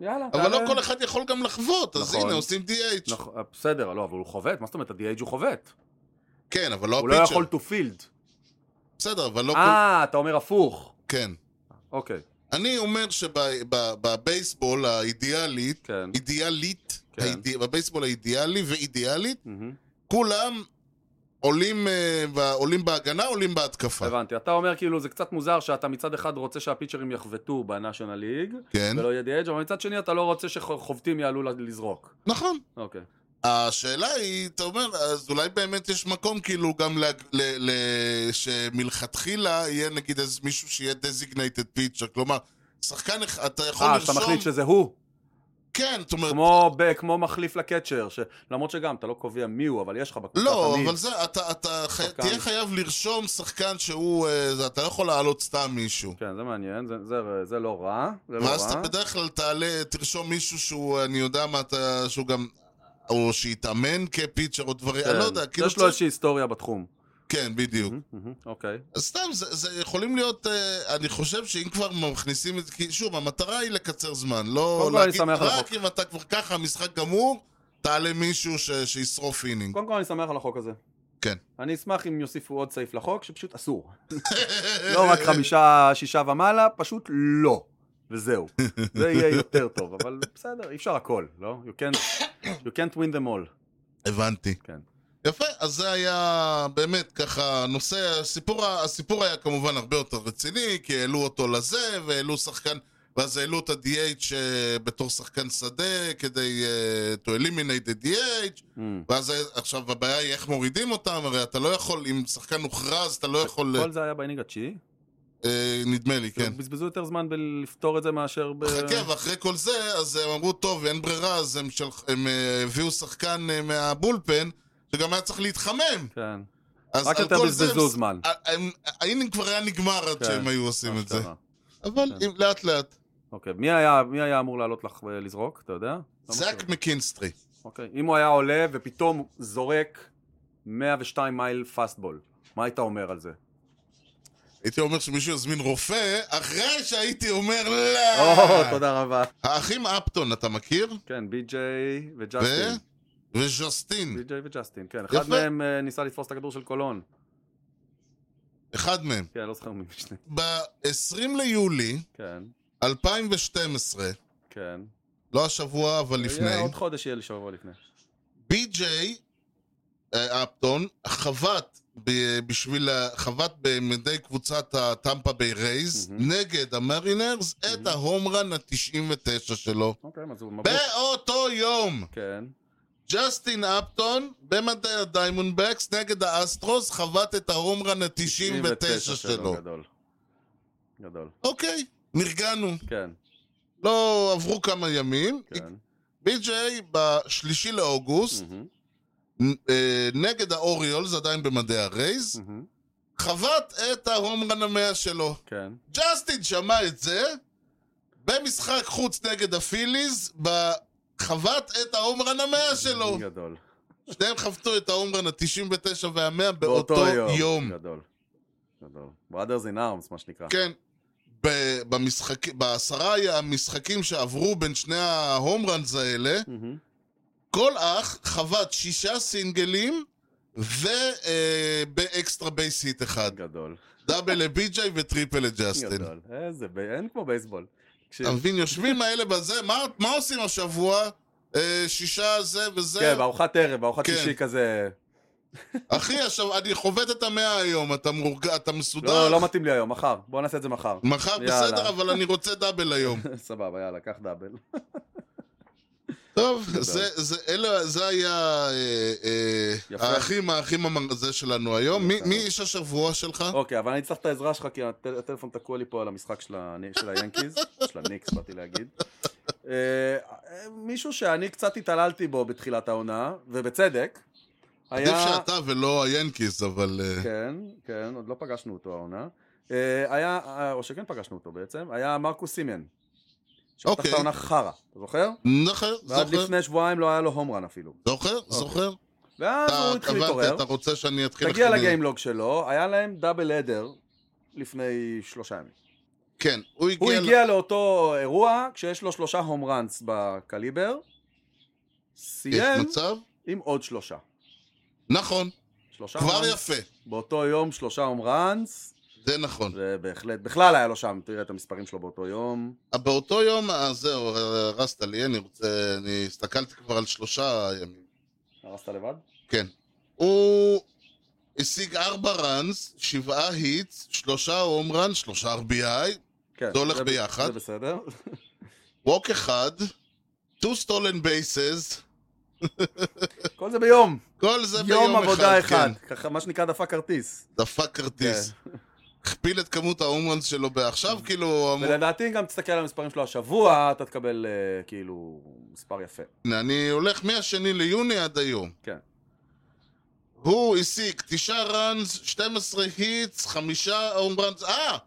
יאללה,
אבל לא
תעלה.
כל אחד יכול גם לחוות, אז
נכון.
הנה, עושים DH.
נכון, בסדר, לא, אבל הוא חובט, מה זאת אומרת? ה-DH הוא חובט.
כן, אבל לא
הוא לא
הפיצ'ר.
יכול to field.
בסדר, אבל לא כל...
אה, אתה אומר הפוך.
כן.
אוקיי,
אני אומר שבבייסבול האידיאלית,
כן.
אידיאלית,
כן.
האיד- בבייסבול האידיאלי ואידיאלית,
מהמם.
כולם עולים, אה, ב- עולים בהגנה, עולים בהתקפה.
הבנתי. אתה אומר כאילו זה קצת מוזר שאתה מצד אחד רוצה שהפיצ'רים יחבטו בנאשונל ליג,
כן,
ולא יהיה DH, אבל מצד שני אתה לא רוצה שחובטים יעלו ל- לזרוק.
נכון.
אוקיי.
השאלה היא, אתה אומר, אז אולי באמת יש מקום כאילו גם ל... ל... ל... שמלכתחילה יהיה נגיד איזה מישהו שיהיה designated pitcher, כלומר, שחקן, אח- אתה יכול
אה, אז אתה
לרשום...
מחליט שזה הוא.
כן, זאת אומרת...
כמו ב- כמו מחליף לקצ'ר, ש- למרות שגם, אתה לא קובע מי הוא, אבל יש לך בקבוצה
לא,
תמיד.
אבל זה, אתה, אתה חי...
שחקן.
תהיה חייב לרשום שחקן שהוא, אה, זה, אתה לא יכול להעלות סתם מישהו.
כן, זה מעניין, זה- זה- זה לא רע. זה לא
ואז אתה
רע.
בדרך כלל תעלה, תרשום מישהו שהוא, אני יודע מה אתה, שהוא גם, או שהתאמן כפיצ'ר או דברים, אני לא יודע,
כן,
כאילו,
יש לו איזושהי היסטוריה בתחום.
כן, בדיוק.
מהמם, מהמם, אוקיי.
אז סתם, זה, זה יכולים להיות, אה, אני חושב שאם כבר מכניסים את, כי שוב, המטרה היא לקצר זמן, לא
קודם כל, אני
להגיד,
שמח על
רק
החוק.
אם אתה כבר ככה, המשחק גמור, תעלה מישהו ש, שישרוף אינינג.
קודם כל אני שמח על החוק הזה.
כן.
אני אשמח אם יוסיפו עוד סעיף לחוק שפשוט אסור. לא
אה,
רק חמישה, שישה ומעלה, פשוט לא. וזהו. זה יהיה יותר טוב, אבל בסדר, אי אפשר הכל, לא? You can't, you can't win them all.
אה, הבנתי.
כן.
יפה, אז זה היה באמת ככה נושא, הסיפור, ה- הסיפור היה כמובן הרבה יותר רציני, כי העלו אותו לזה, והעלו שחקן, ואז העלו את ה-DH אה, בתור שחקן שדה, כדי uh, to eliminate the DH,
Mm.
ואז אה, עכשיו הבעיה היא איך מורידים אותם, הרי אתה לא יכול, אם שחקן הוכרז, אתה לא יכול,
כל זה היה באינינג התשיעי?
אה, נדמה לי, כן.
כאילו, בזבזו יותר זמן בלפתור את זה מאשר ב...
חכה, ואחרי כל זה, אז הם אמרו, טוב, אין ברירה, אז הם, של... הם אה, הביאו שחקן אה, מהבולפן, שגם היה צריך להתחמם.
כן.
אז
רק
על
יותר
כל זה
בזבזו
הם-
זמן.
הם- האינינג כבר היה נגמר עד
כן,
שהם היו עושים את זה.
אשכרה.
אבל
כן.
אם- לאט לאט.
אוקיי, מי היה- מי היה אמור לעלות לך אה, לזרוק, אתה יודע? לא
זאק מקינסטרי.
אוקיי. אם הוא היה עולה ופתאום זורק 102 מייל פאסטבול, מה היית אומר על זה?
הייתי אומר שמישהו יזמין רופא, אחרי שהייתי אומר לא.
או, תודה רבה.
האחים אפטון, אתה מכיר?
כן, בי-ג'יי
ו?
וג'סטין.
וז'סטין.
בי.ג'יי וג'סטין, כן.
יפה.
אחד מהם אה, ניסה לתפוס את הכדור של קולון.
אחד מהם.
כן, לא זוכר מי משני.
ב-20 ליולי
כן,
2012,
כן.
לא השבוע אבל
יהיה
לפני,
עוד חודש יהיה לי שבוע לפני.
בי.ג'יי אה, אפטון חבט ב- בשביל, ה- חבט במדי קבוצת הטמפה ביי רייז
מהמם.
נגד המרינרס את ההומרן ה-99 שלו.
אוקיי, אז הוא מבוק.
באותו יום,
כן.
ג'סטין אפטון במדעי הדיימונדבקס נגד האסטרוס חבט את הרומרן ה-99 שלו.
גדול. גדול.
אוקיי, נרגענו.
כן,
לא עברו כמה ימים.
כן.
בי.ג'יי בשלישי לאוגוסט,
מהמם,
נ- אה, נגד האוריולס, עדיין במדעי הרייז,
מהמם,
חבט את ההומרן המאה שלו.
כן.
ג'סטין שמע את זה במשחק חוץ נגד הפיליז, ב- חבט את ההומרן המאה שלו.
גדול.
שניהם חבטו את ההומרן ה-99 וה-100 באותו יום.
גדול. גדול. Brothers in arms, מה שנקרא.
כן. ב- במשחק... בעשרה המשחקים שעברו בין שני ההומרנס האלה,
מהמם,
כל אח חבט שישה סינגלים ובאקסטרה בייס היט אחד.
גדול.
דאבל לבי.ג'יי וטריפל לג'סטין.
גדול. איזה, ב- אין כמו בייסבול. תקשיב.
אתה מבין, יושבים האלה בזה, מה, מה עושים השבוע? אה, שישה זה וזה.
כן, בארוחת ערב, בארוחת
כן.
שישי כזה.
אחי, עכשיו, אני חובט את המאה היום, אתה, מורג... אתה מסודר?
לא, לא מתאים לי היום, מחר. בוא נעשה את זה מחר.
מחר
יאללה.
בסדר, אבל אני רוצה דאבל היום.
סבבה, יאללה, קח דאבל.
טוב, זה, זה, אלה, זה היה אה, אה,
יפה.
האחים, האחים המרזה שלנו היום. מי,
יפה.
מי איש השבוע שלך?
אוקיי, אבל אני צריך את העזרה שלך, כי הטל- הטלפון תקוע לי פה על המשחק של ה- של היאנקיז, של הניקס, באתי להגיד. אה, אה, מישהו שאני קצת התעללתי בו בתחילת העונה, ובצדק,
עדיף
היה...
שאתה ולא היאנקיז, אבל... אה,
כן, כן, עוד לא פגשנו אותו העונה. אה, היה, אה, או שכן פגשנו אותו בעצם, היה מרקוס סימיאן. שפתח
אוקיי.
את העונה חרא, אתה זוכר?
זוכר,
ועד
זוכר,
לפני שבועיים לא היה לו הומרן אפילו.
זוכר, זוכר.
ואז הוא
אתה
התחיל להתעורר.
אה, קבעת, אתה רוצה שאני אתחיל...
תגיע
לחגוג?
לגיימלוג שלו, היה להם דאבל אדר לפני שלושה ימים.
כן, הוא
הוא
הגיע... ל-
הגיע לאותו אירוע כשיש לו שלושה הום ראנס בקליבר, סיים
יש מצב?
עם עוד שלושה.
נכון,
שלושה
כבר
home runs.
יפה.
באותו יום שלושה הום ראנס,
זה נכון.
זה בהחלט, בכלל היה לו שם, תראה את המספרים שלו באותו יום.
באותו יום, אה, זהו, הרסת לי, אני רוצה... אני הסתכלתי כבר על שלושה ימים.
הרסת לבד?
כן. הוא השיג ארבע ראנס, שבעה היטס, שלושה הום ראנס, שלושה RBI,
כן.
זה הולך
ב-
ביחד.
זה בסדר.
ווק אחד, two stolen bases,
כל זה ביום.
כל זה ביום אחד.
יום עבודה אחד. כן.
כן.
ככה, מה שנקרא דפק כרטיס.
דפק כרטיס. הכפיל את כמות ההומרנס שלו בעכשיו, כאילו, הוא אמור-
ולדעתי, אם גם תסתכל על המספרים שלו השבוע, אתה תקבל אה, כאילו מספר יפה.
הנה, אני הולך מהשני ליוני עד היום.
כן.
הוא השיג תשעה ראנס, 12 היטס, חמישה הומרנס, אה!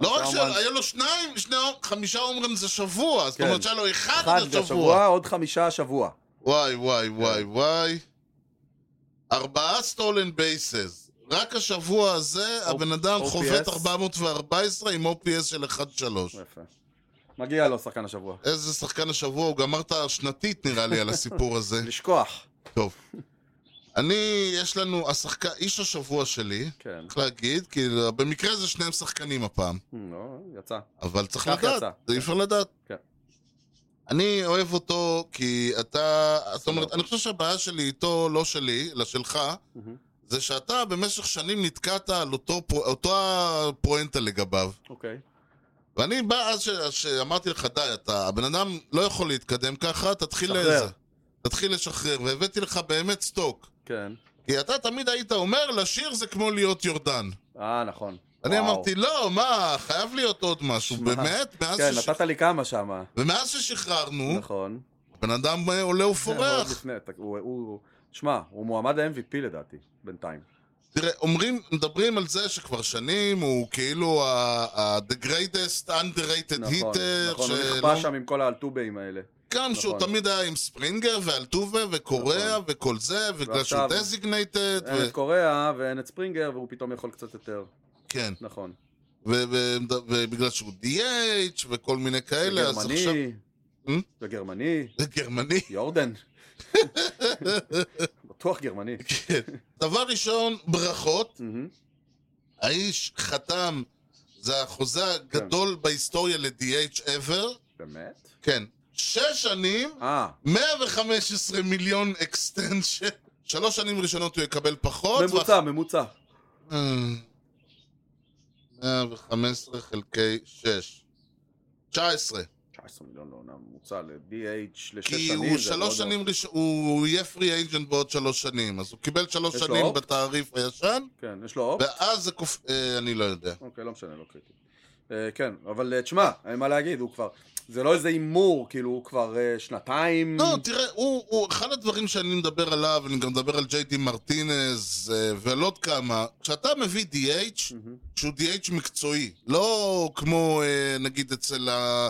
לא רק
חמישה הומרנס.
שהיה לו שניים, שני, הום- חמישה הומרנס השבוע, זאת
כן.
אומרת שהיה לו אחד
אחד
השבוע.
בשבוע, כן. עוד חמישה השבוע.
וואי, וואי, וואי, וואי. ארבעה סטולן בייסס. רק השבוע הזה הבן אדם
OPS.
חובט 414 עם OPS של 1-3.
יפה. מגיע לו שחקן השבוע.
איזה שחקן השבוע, הוא גמר את השנתית נראה לי על הסיפור הזה.
לשכוח.
טוב. אני, יש לנו, השחקן, איש השבוע שלי,
כן.
צריך להגיד, כי במקרה זה שניהם שחקנים הפעם,
לא, יצא.
אבל צריך
כך
לדעת,
יצא.
זה אי אפשר לדעת.
כן.
אני אוהב אותו כי אתה, זאת אומרת,
סבבה.
אני חושב שהבעיה שלי איתו, לא שלי, אלא שלך,
מהמם.
זה שאתה במשך שנים נתקעת על אותו פרו- אותו הפואנטה לגביו.
אוקיי.
ואני בא אז ש- שאמרתי לך, די, אתה, הבן אדם לא יכול להתקדם ככה, תתחיל
שחרר.
לאיזה. תתחיל לשחרר, והבאתי לך באמת סטוק.
כן.
כי אתה תמיד היית אומר, לשיר זה כמו להיות יורדן.
אה, נכון.
אני
וואו.
אמרתי, לא, מה, חייב להיות עוד משהו,
שמע.
באמת? מאז
כן,
שש-
נתת לי כמה שמה.
ומאז ששחררנו,
נכון.
בן אדם אה, עולה
זה מאוד לא-
ופורח.
לפני, ת- הוא- הוא... שמע, הוא מועמד ל-MVP לדעתי, בינתיים.
תראה, אומרים, מדברים על זה שכבר שנים הוא כאילו ה- ה- the greatest underrated
נכון,
hitter,
נכון, הוא
שלא-
נכפה שם עם כל האלטובים האלה.
גם שהוא
נכון.
תמיד היה עם ספרינגר ואלטובה וקוריאה
נכון.
וכל זה, ובגלל שהוא
ועכשיו- אה,
דזיגנייטד,
אין את קוריאה ואין את ספרינגר, והוא פתאום יכול קצת יותר.
כן,
נכון.
ו- ו- ובגלל שהוא DH וכל מיני כאלה, אז עכשיו...
וגרמני,
Hmm?
וגרמני,
גרמני.
יורדן. בטוח גרמני.
כן. דבר ראשון, ברכות.
מהמם.
האיש חתם, זה החוזה
כן.
הגדול בהיסטוריה ל-DH ever.
באמת?
כן. שש שנים,
אה,
115 מיליון אקסטנשן. שלוש שנים ראשונות הוא יקבל פחות.
ממוצע, ממוצע.
ואח- אה, 115 חלקי 6. 19.
19. 17 מיליון לעונה ממוצע ל-DH לשש שנים.
כי הוא
זה לא
שלוש
מאוד-
שנים ראשון, הוא יהיה פרי אייג'נט בעוד שלוש שנים, אז הוא קיבל שלוש
יש לו
שנים
אופט?
בתעריף הישן,
כן, יש לו אופט?
ואז זה קופ... אה, אני לא יודע.
אוקיי, לא משנה, לא קריטי. אה, כן, אבל אה, תשמע, אין מה להגיד, הוא כבר... זה לא איזה הימור, כאילו, הוא כבר אה, שנתיים...
לא, תראה, הוא, הוא, אחד הדברים שאני מדבר עליו, אני גם מדבר על ג'יי די מרטינז אה, ועל עוד כמה, כשאתה מביא DH,
מהמם.
שהוא DH מקצועי, לא כמו אה, נגיד אצל ה...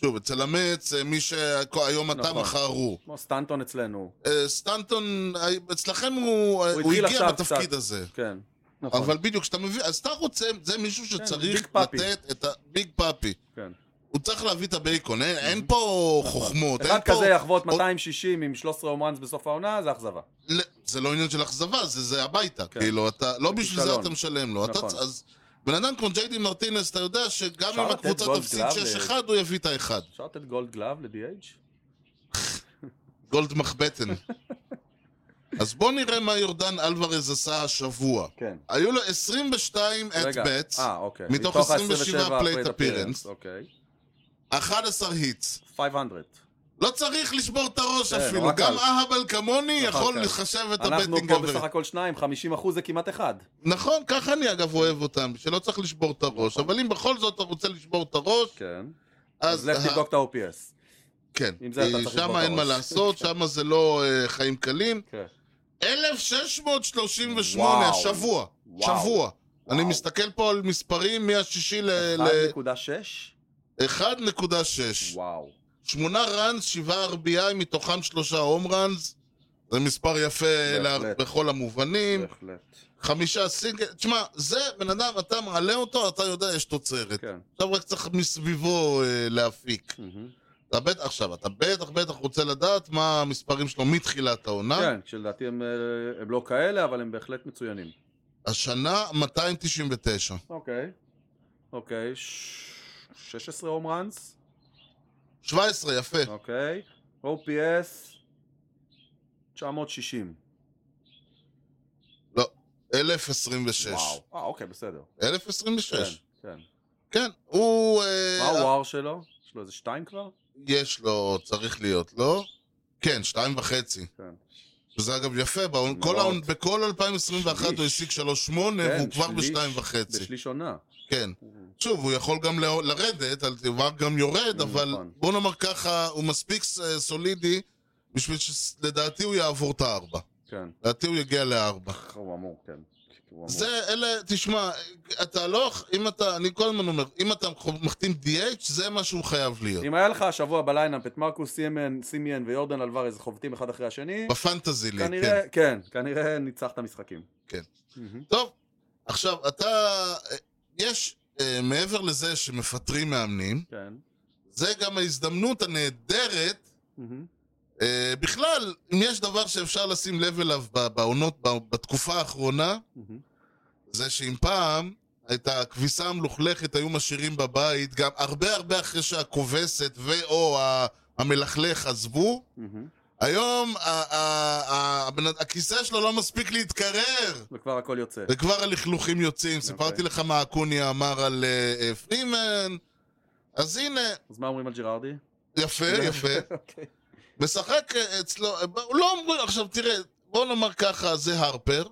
שוב, אצל המץ, אה, מי שהיום אתה
נכון.
מחר הוא.
כמו סטנטון אצלנו,
אה, סטנטון, אה, אצלכם הוא, אה, הוא
התחיל
הגיע
עכשיו
בתפקיד
קצת.
הזה.
כן. נכון. כן,
אבל בדיוק, כשאתה מביא, אז אתה רוצה, זה מישהו
ביג
שצריך
פאפי.
לתת את ה... ביג פאפי.
כן.
הוא צריך להביא את הבייקון, אין- אין פה חוכמות, אין
אחד
פה...
כזה יחבוט 260 עם 13 הומאנס בסוף העונה, זה אכזבה.
ל- זה לא עניין של אכזבה, זה זה הביתה.
כן.
כאילו, אתה, לא בשביל זה
כישלון.
אתה משלם לו. אתה
נכון.
צ- אז בן אדם כמו ג'יידי מרטינס, אתה יודע שגם
אפשר
אם
לתת
הקבוצה
גולד
תפסיד
גלאב
6-1,
ל-
הוא יביא את האחד.
אפשר לתת גולד גלאב ל-DH?
גולד מחבטן. אז בוא נראה מה יורדן אלוורז עשה השבוע.
כן.
היו לו 22
רגע.
at-bats,
אה, אוקיי.
מתוך
ה-
27 plate appearance.
אוקיי.
11 היטס.
500.
לא צריך לשבור את הראש
כן,
אפילו,
נורא
גם
קל.
אהבל כמוני
נורא
יכול
קל.
לחשב את
כן. אנחנו
הבטינג
פה בסך
אברד.
הכל שניים, 50 אחוז זה כמעט אחד.
נכון, ככה אני אגב אוהב אותם, שלא צריך לשבור את הראש, אבל אם בכל זאת אתה רוצה לשבור את הראש,
כן. אז
אז
לך
ה-
תבדוק את ה-OPS.
כן,
עם זה אתה
אה,
צריך
שם
לשבור את
אין מה
הראש.
לעשות, שם זה לא אה, חיים קלים.
כן.
1638,
וואו.
השבוע,
וואו.
שבוע. אני
וואו.
מסתכל פה על מספרים מהשישי ל-1.6.
1.6? וואו.
שמונה ראנס, שבעה RBI, מתוכם שלושה הום ראנס. זה מספר יפה לה-
בהחלט.
בכל המובנים.
בהחלט.
אה? חמישה סינגל, תשמע, זה בן אדם, אתה מעלה אותו, אתה יודע, יש תוצרת.
כן.
עכשיו רק צריך מסביבו אה, להפיק.
מהמם.
אתה בטח, עכשיו, אתה בטח בטח רוצה לדעת מה המספרים שלו מתחילת העונה.
כן, כשלדעתי הם, אה, הם לא כאלה, אבל הם בהחלט מצוינים.
השנה, 299.
אוקיי. אוקיי. ש- 16 הום ראנס.
17, יפה.
אוקיי. OPS 960.
1026.
וואו. אה, אוקיי, בסדר.
1026.
כן, כן.
כן, הוא... אה,
מה הוואר שלו? יש לו איזה שתיים כבר?
יש לו, צריך להיות, לא? כן, שתיים וחצי.
כן.
שזה אגב יפה, בעון-
מאוד.
כל העון- בכל 2021 הוא
שליש. כן,
השיג 3.8 והוא כבר
שליש-
בשתיים וחצי.
בשליש עונה.
כן. שוב, הוא יכול גם ל- לרדת, על דבר גם יורד,
Mm,
אבל
נכון.
בוא נאמר ככה, הוא מספיק ס- סולידי בשביל שלדעתי הוא יעבור את הארבע.
כן.
לדעתי הוא יגיע לארבע.
הוא אמור, כן. הוא אמור.
זה, אלה, תשמע, אתה לא, אם אתה, אני כל הזמן אומר, אם אתה מחתים DH, זה מה שהוא חייב להיות.
אם היה לך השבוע בליינאפ את מרקוס סימן, סימיאן ויורדן אלוורז חובטים אחד אחרי השני,
בפנטזי לי, לא כן.
כנראה, כן, כנראה ניצחת משחקים.
כן.
מהמם.
טוב, עכשיו, אתה, אה, יש, אה, מעבר לזה שמפטרים מאמנים,
כן.
זה גם ההזדמנות הנהדרת
מהמם.
אה, בכלל, אם יש דבר שאפשר לשים לב אליו ב- בעונות, ב- בתקופה האחרונה,
מהמם.
זה שאם פעם את הכביסה המלוכלכת היו משאירים בבית, גם הרבה הרבה אחרי שהכובסת ו/או ה- המלכלך עזבו,
מהמם.
היום ה- ה- ה- הבן- הכיסא שלו לא מספיק להתקרר,
וכבר הכל יוצא.
וכבר הלכלוכים יוצאים. סיפרתי לך מה אקוניה אמר על אה, אה, פרימן, אז הנה,
אז מה אומרים על ג'ירארדי?
יפה, אה, יפה.
אוקיי.
משחק אצלו, לא אמרו, עכשיו תראה, בוא נאמר ככה, זה הרפר,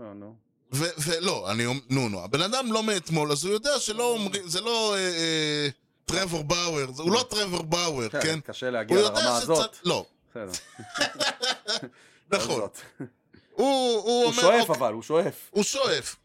אה, נו.
ו- ולא, אני אומר, נו נו, הבן אדם לא מאתמול, אז הוא יודע שלא אומרים, זה לא אה, אה, טרוור באואר, זה- הוא לא טרוור באואר, כן?
קשה להגיע
הוא יודע
לרמה הזאת.
שצריך, לא,
בסדר,
נכון.
בכל זאת.
הוא הוא
הוא
אומר,
שואף
אוקיי,
אבל, הוא שואף.
הוא שואף.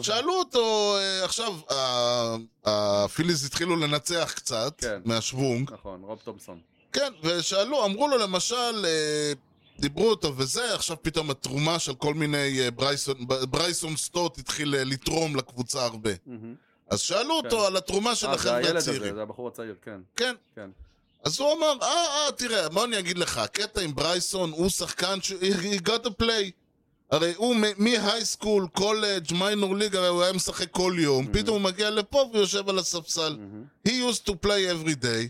שאלו אותו, אה, עכשיו, ה- הפיליז התחילו לנצח קצת,
כן.
מהשוונג,
נכון, רוב תומסון.
כן, ושאלו, אמרו לו למשל, אה, דיברו אותו וזה, עכשיו פתאום התרומה של כל מיני אה, ברייסון, ב- ברייסון סטוט התחיל אה, לתרום לקבוצה הרבה.
מהמם.
אז שאלו
כן.
אותו על התרומה של
אה, זה הילד
החבר'ה
הזה,
הצעירים.
זה הבחור הצעיר, כן.
כן.
כן.
אז הוא אמר, אה, אה, תראה, בוא אני אגיד לך, הקטע עם ברייסון, הוא שחקן ש... he got a play. הרי הוא מ- מהייסקול, קולג', מיינור ליג, הרי הוא היה משחק כל
Mm-hmm.
יום, פתאום הוא מגיע לפה ויושב על הספסל.
מהמם.
He used to play every day.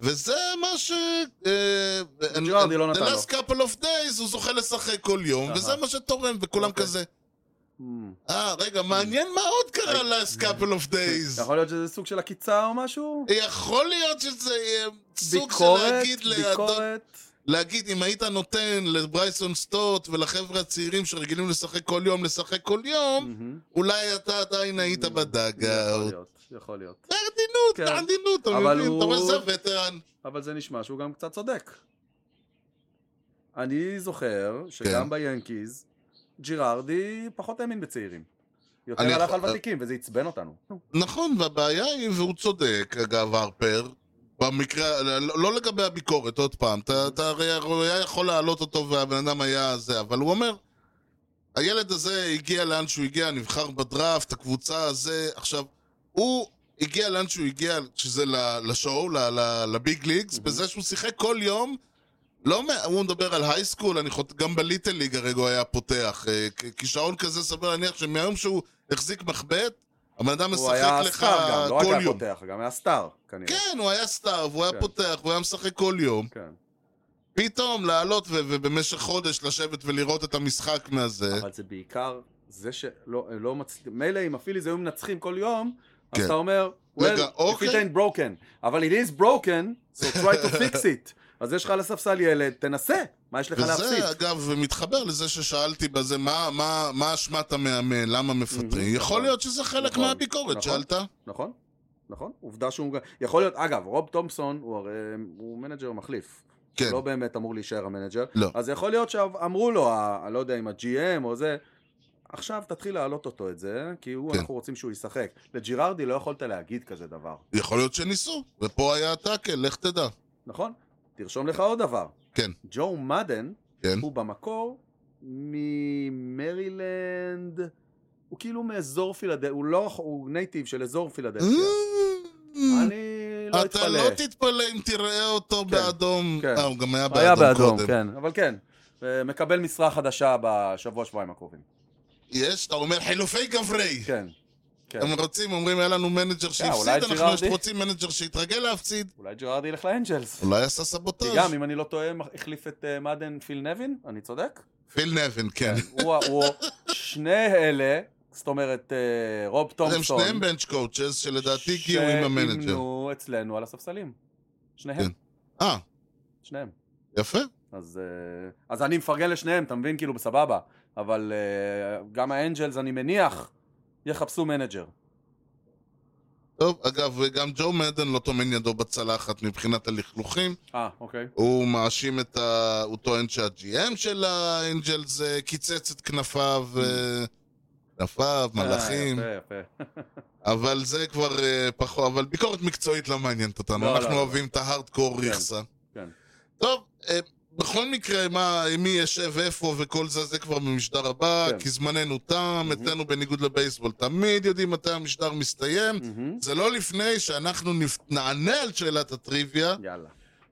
וזה מה ש... אה,
ג'רארדי לא נתן
The last couple of days הוא זוכה לשחק כל יום,
אהה.
וזה מה שתורם, וכולם
אוקיי.
כזה. אה, רגע, מעניין מה עוד קרה last couple of days.
יכול להיות שזה סוג של עקיצה או משהו?
יכול להיות שזה יהיה סוג של
ביקורת,
להגיד לאדון...
ביקורת.
להגיד, אם היית נותן לברייסון סטוט ולחבר'ה הצעירים שרגילים לשחק כל יום, לשחק כל יום,
מהמם.
אולי אתה עדיין היית
יכול
בדאגאוט.
להיות, יכול להיות. Mm. נכון. כן.
בעדינות, בעדינות, אתה
אבל
מבין? אתה אומר,
הוא-
זה וטרן.
אבל זה נשמע שהוא גם קצת צודק. אני זוכר שגם
כן.
ביאנקיז, ג'ירארדי פחות האמין בצעירים. יותר
אני
הלך
יכול-
על ותיקים, וזה עצבן אותנו.
נכון, והבעיה היא, והוא צודק, אגב, הרפר, במקרה, לא לא לגבי הביקורת, עוד פעם, אתה אתה הרי הוא היה יכול להעלות אותו והבן אדם היה זה, אבל הוא אומר, הילד הזה הגיע לאן שהוא הגיע, נבחר בדראפט, הקבוצה הזה, עכשיו, הוא הגיע לאן שהוא הגיע, שזה ל- לשואו, ל- ל- לביג ליגס, בזה שהוא שיחק כל יום. לא, מה- הוא מדבר על הייסקול, אני חוט... גם בליטל ליג הרגע הוא היה פותח. אה, כ- כישרון כזה סביר להניח שמהיום שהוא החזיק מחבט, הבן אדם
הוא
משחק
היה
לך
סטאר גם, לא רק
כל
היה
יום.
פותח, גם היה סטאר, כנראה.
כן, הוא היה סטאר, והוא היה
כן.
פותח, והוא היה משחק כל יום.
כן.
פתאום לעלות ו- ובמשך חודש לשבת ולראות את המשחק מהזה.
כן. אבל זה בעיקר זה שלא לא מצליח... מילא אם הפיליז היו מנצחים כל יום, אז
כן.
אתה אומר, well,
רגע,
if
אוקיי.
it ain't broken, אבל it is broken, so try to fix it. אז יש לך על הספסל ילד, תנסה, מה יש לך להפסיד?
וזה, אגב, מתחבר לזה ששאלתי בזה, מה- מה מה אשמת המאמן, למה מפטרים?
Mhm,
יכול
נכון.
להיות שזה חלק
נכון,
מהביקורת,
נכון.
שאלת?
נכון, נכון, עובדה שהוא... גם- יכול להיות, אגב, רוב תומפסון הוא הרי... הוא מנג'ר מחליף.
כן.
הוא לא באמת אמור להישאר המנג'ר.
לא.
אז יכול להיות שאמרו לו, ה- אני לא יודע אם ה-GM או זה, עכשיו תתחיל להעלות אותו את זה, כי הוא,
כן.
אנחנו רוצים שהוא ישחק. לג'ירארדי לא יכולת להגיד כזה דבר,
יכול להיות שניסו, ופה היה הטאקל, לך תדע.
נכון? תרשום לך עוד דבר.
כן.
ג'ו מדן,
כן.
הוא במקור ממרילנד, הוא כאילו מאזור פילדלפיה, הוא לא, הוא נייטיב של אזור פילדלפיה. כן. אני לא אתפלא.
אה, אתה לא תתפלא אם תראה אותו באדום.
כן.
אה, הוא גם היה
היה
באדום
באדום,
קודם.
כן, אבל כן. אה, מקבל משרה חדשה בשבוע שבועיים הקרובים.
יש, אתה אומר חילופי גברי.
כן, כן. אה,
הם רוצים, אומרים, היה לנו מנג'ר
אולי
שהפסיד, אנחנו
ג'ירארדי?
רוצים מנג'ר שהתרגל להפסיד.
אולי ג'רארד ילך לאנג'לס.
אולי עשה
כי
סבוטאז'.
גם, אם אני לא טועה, מח- החליף את אה, מאדן פיל נבין, אני צודק?
פיל נבן, כן.
הוא, ה- הוא, שני אלה, זאת אומרת, אה, רוב
הם
תומפסון,
שניהם בנץ' קואוצ'ס, שלדעתי הגיעו עם המנג'ר.
שאימנו אצלנו על הספסלים. שניהם,
כן. אה,
שניהם.
יפה.
אז, אה, אז אני מפרגן לשניהם, אתה מבין? כאילו, בסבבה. אבל אה, גם האנג'לס, אני מניח, יחפשו מנג'ר.
טוב, אגב, גם ג'ו מדן לא טומן ידו בצלחת מבחינת הלכלוכים.
אה, אוקיי.
הוא מאשים את ה... הוא טוען שה-GM של האנג'לס אה, קיצץ את כנפיו, אה, כנפיו, מלאכים,
אה, יפה, יפה.
אבל זה כבר אה, פחות, אבל ביקורת מקצועית לא מעניינת
לא,
אותנו,
לא,
אנחנו
לא.
אוהבים את ההארדקור
כן,
ריכסה.
כן.
טוב, אה, בכל מקרה, מה, מי ישב איפה וכל זה, זה כבר במשדר הבא,
כן.
כי זמננו תם,
Mhm.
אצלנו בניגוד לבייסבול תמיד יודעים מתי המשדר מסתיים.
מהמם.
זה לא לפני שאנחנו נפ... נענה על שאלת הטריוויה.
יאללה.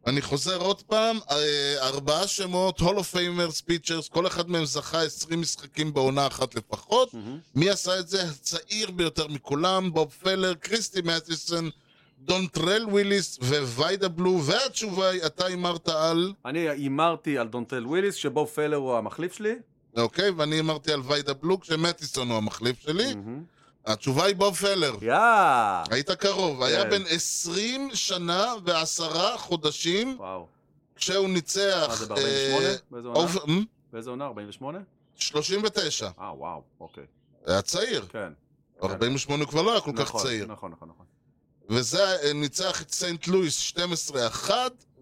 אני חוזר עוד פעם, אה, ארבעה שמות, הולו פיימרס, פיצ'רס, כל אחד מהם זכה 20 משחקים בעונה אחת לפחות.
מהמם.
מי עשה את זה? הצעיר ביותר מכולם, בוב פלר, קריסטי מתיסון, דונטרל וויליס וויידה בלו, והתשובה היא, אתה הימרת על...
אני הימרתי על דונטל וויליס, שבו פלר הוא המחליף שלי.
אוקיי, ואני הימרתי על ויידה בלו, כשמתיסון הוא המחליף שלי.
מהמם.
התשובה היא בוב פלר.
יאה!
היית קרוב, היה
כן.
בן 20 שנה ועשרה חודשים
וואו.
כשהוא ניצח...
מה זה,
אה,
ב-48? באיזה עונה?
אוב- מ?
באיזה עונה? 48?
39,
אה, וואו, אוקיי.
היה צעיר.
כן.
48 הוא כבר לא היה כל כך
נכון,
צעיר.
נכון, נכון, נכון.
וזה אה, ניצח את סנט לואיס 12-1,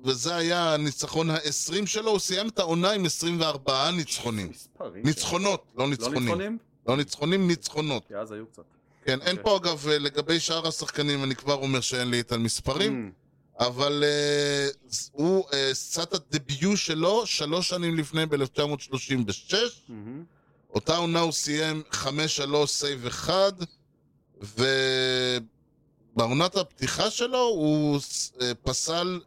וזה היה הניצחון ה-20 שלו, הוא סיים את העונה עם 24 ניצחונים.
מספרים.
ניצחונות, לא
לא
ניצחונים.
ניצחונים?
לא ניצחונים, ניצחונות.
כי אז היו קצת.
כן, אין
אוקיי.
פה אגב, אה, לגבי שאר השחקנים, אני כבר אומר שאין לי את המספרים,
Mm,
אבל אה, ז- הוא אה, עשה את הדביוט שלו שלוש שנים לפני, ב-1936.
מהמם.
אותה עונה הוא סיים 5-3 סייב 1, ובעונת הפתיחה שלו הוא ס- אה, פסל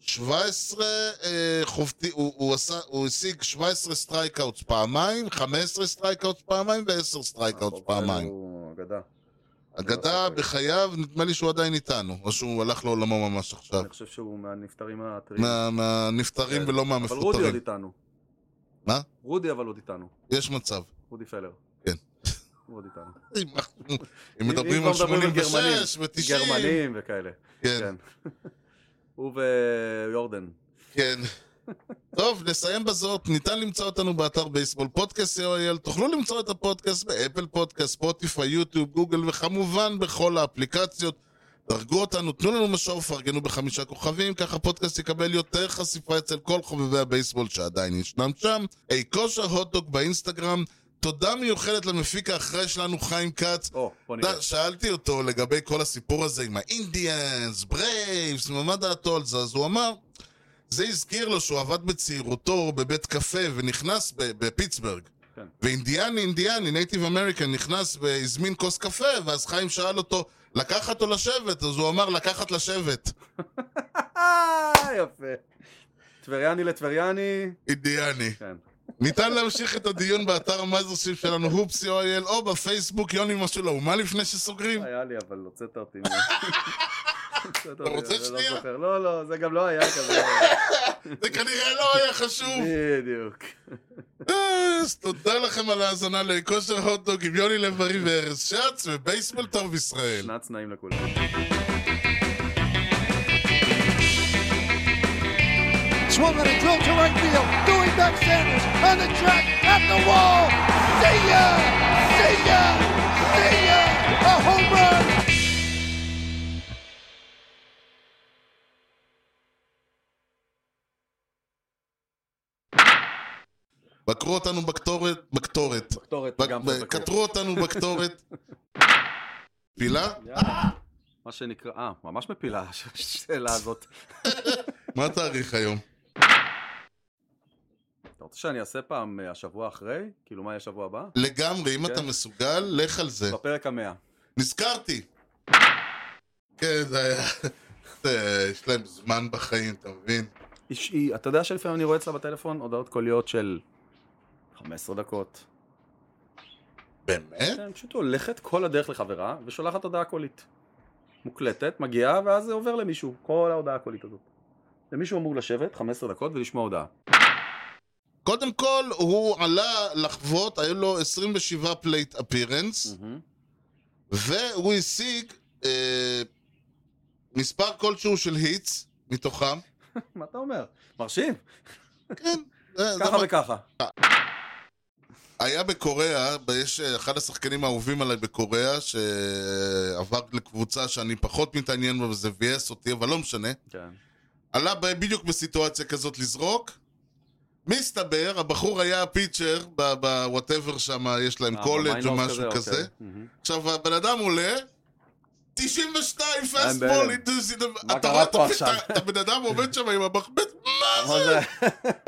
17 אה, חובטי, הוא, הוא, עשה, הוא השיג 17 סטרייקאוטס פעמיים, 15 סטרייקאוטס פעמיים ו-10 סטרייקאוטס
בוב פלר
פעמיים.
הוא אגדה.
אגדה בחייו, נדמה לי שהוא עדיין איתנו, או שהוא הלך לעולמו ממש עכשיו.
אני חושב שהוא מהנפטרים הטריים.
מה- מהנפטרים
כן.
ולא
אבל רודי עוד
מהמפוטרים.
איתנו.
מה?
רודי אבל עוד איתנו.
יש מצב. כן.
רודי פלר. הוא עוד איתנו.
אם אם מדברים
כבר
על 86 ו-90,
גרמנים וכאלה.
כן,
כן. הוא ויורדן.
כן. טוב, נסיים בזאת. ניתן למצוא אותנו באתר בייסבול פודקאסט co.il. תוכלו למצוא את הפודקאסט באפל פודקאסט, ספוטיפיי, יוטיוב, גוגל, וכמובן בכל האפליקציות. דרגו אותנו, תנו לנו משוב, פרגנו בחמישה כוכבים, ככה הפודקאסט יקבל יותר חשיפה אצל כל חובבי הבייסבול שעדיין ישנם שם. אי כושר הוטדוק באינסטגרם. תודה מיוחדת למפיק האחראי שלנו, חיים כץ.
או, בוא
אתה
נראה.
יודע, שאלתי אותו לגבי כל הסיפור הזה עם האינדיאנס, ברייבס, מה דעתו על זה, אז הוא אמר, זה הזכיר לו שהוא עבד בצעירותו בבית קפה ונכנס ב- בפיטסברג.
כן.
ואינדיאני, אינדיאני, נייטיב אמריקן, נכנס והזמין כוס קפה, ואז חיים שאל אותו, לקחת או לשבת? אז הוא אמר, לקחת לשבת.
אה, יפה. טבריאני לטבריאני.
אינדיאני.
כן.
ניתן להמשיך את הדיון באתר המאזרשיפ שלנו, הופסי או.אל, או בפייסבוק, יוני משהו לאומה לפני שסוגרים.
לא היה לי, אבל הוצאת אותי. מ- הוצאת
אתה רוצה
אני לא
שנייה?
זוכר. לא, לא, זה גם לא היה כזה.
זה כנראה לא היה חשוב.
בדיוק.
אז תודה לכם על ההאזנה לכושר הוטדוג עם יוני לב-ארי וארז שץ ובייסבול טוב ישראל.
שנת צנעים לכולם.
Swung on a drill to right field. Doing back Sanders on the track at the wall. See ya! See ya! See ya! A home run!
בקרו אותנו בקטורת, בקטורת.
קטורת,
בק-
גם
ב-
חזקות.
קטרו אותנו בקטורת. פילה?
מה שנקרא, אה, ממש מפילה השאלה הזאת.
מה התאריך היום?
אתה רוצה שאני אעשה פעם אה, השבוע אחרי? כאילו, מה יהיה השבוע הבא?
לגמרי, אם
כן.
אתה מסוגל, לך על זה.
בפרק המאה.
נזכרתי! כן, זה היה... זה- יש להם זמן בחיים, אתה מבין?
איש- היא- אתה יודע שלפעמים אני רואה אצלה בטלפון הודעות קוליות של 15 דקות.
באמת?
כן, פשוט הולכת כל הדרך לחברה ושולחת הודעה קולית. מוקלטת, מגיעה, ואז זה עובר למישהו, כל ההודעה הקולית הזאת. ומישהו אמור לשבת 15 דקות ולשמוע הודעה.
קודם כל, הוא עלה לחוות, היו לו 27 פלייט אפירנס. והוא השיג אה, מספר כלשהו של היטס מתוכם.
מה אתה אומר? מרשים?
כן. זה- זה
אה, ככה
מה-
וככה.
היה בקוריאה, ב- יש אה, אחד השחקנים האהובים עליי בקוריאה, שעבר לקבוצה שאני פחות מתעניין בה וזה ביאס אותי, אבל לא משנה.
כן.
עלה ב- בדיוק בסיטואציה כזאת לזרוק. מסתבר, הבחור היה הפיצ'ר בוואטאבר שם, יש להם
אה,
קולג'
במיינורס
או משהו
אוקיי.
כזה.
מהמם.
עכשיו, הבן אדם עולה, 92 פסט
בהלם.
בול, אינטוסיד,
מה
אתה
קרה
רואה את
פה
הפ-
עכשיו?
את הבן אדם עומד שם עם המחבט, מה
מה
זה?
זה?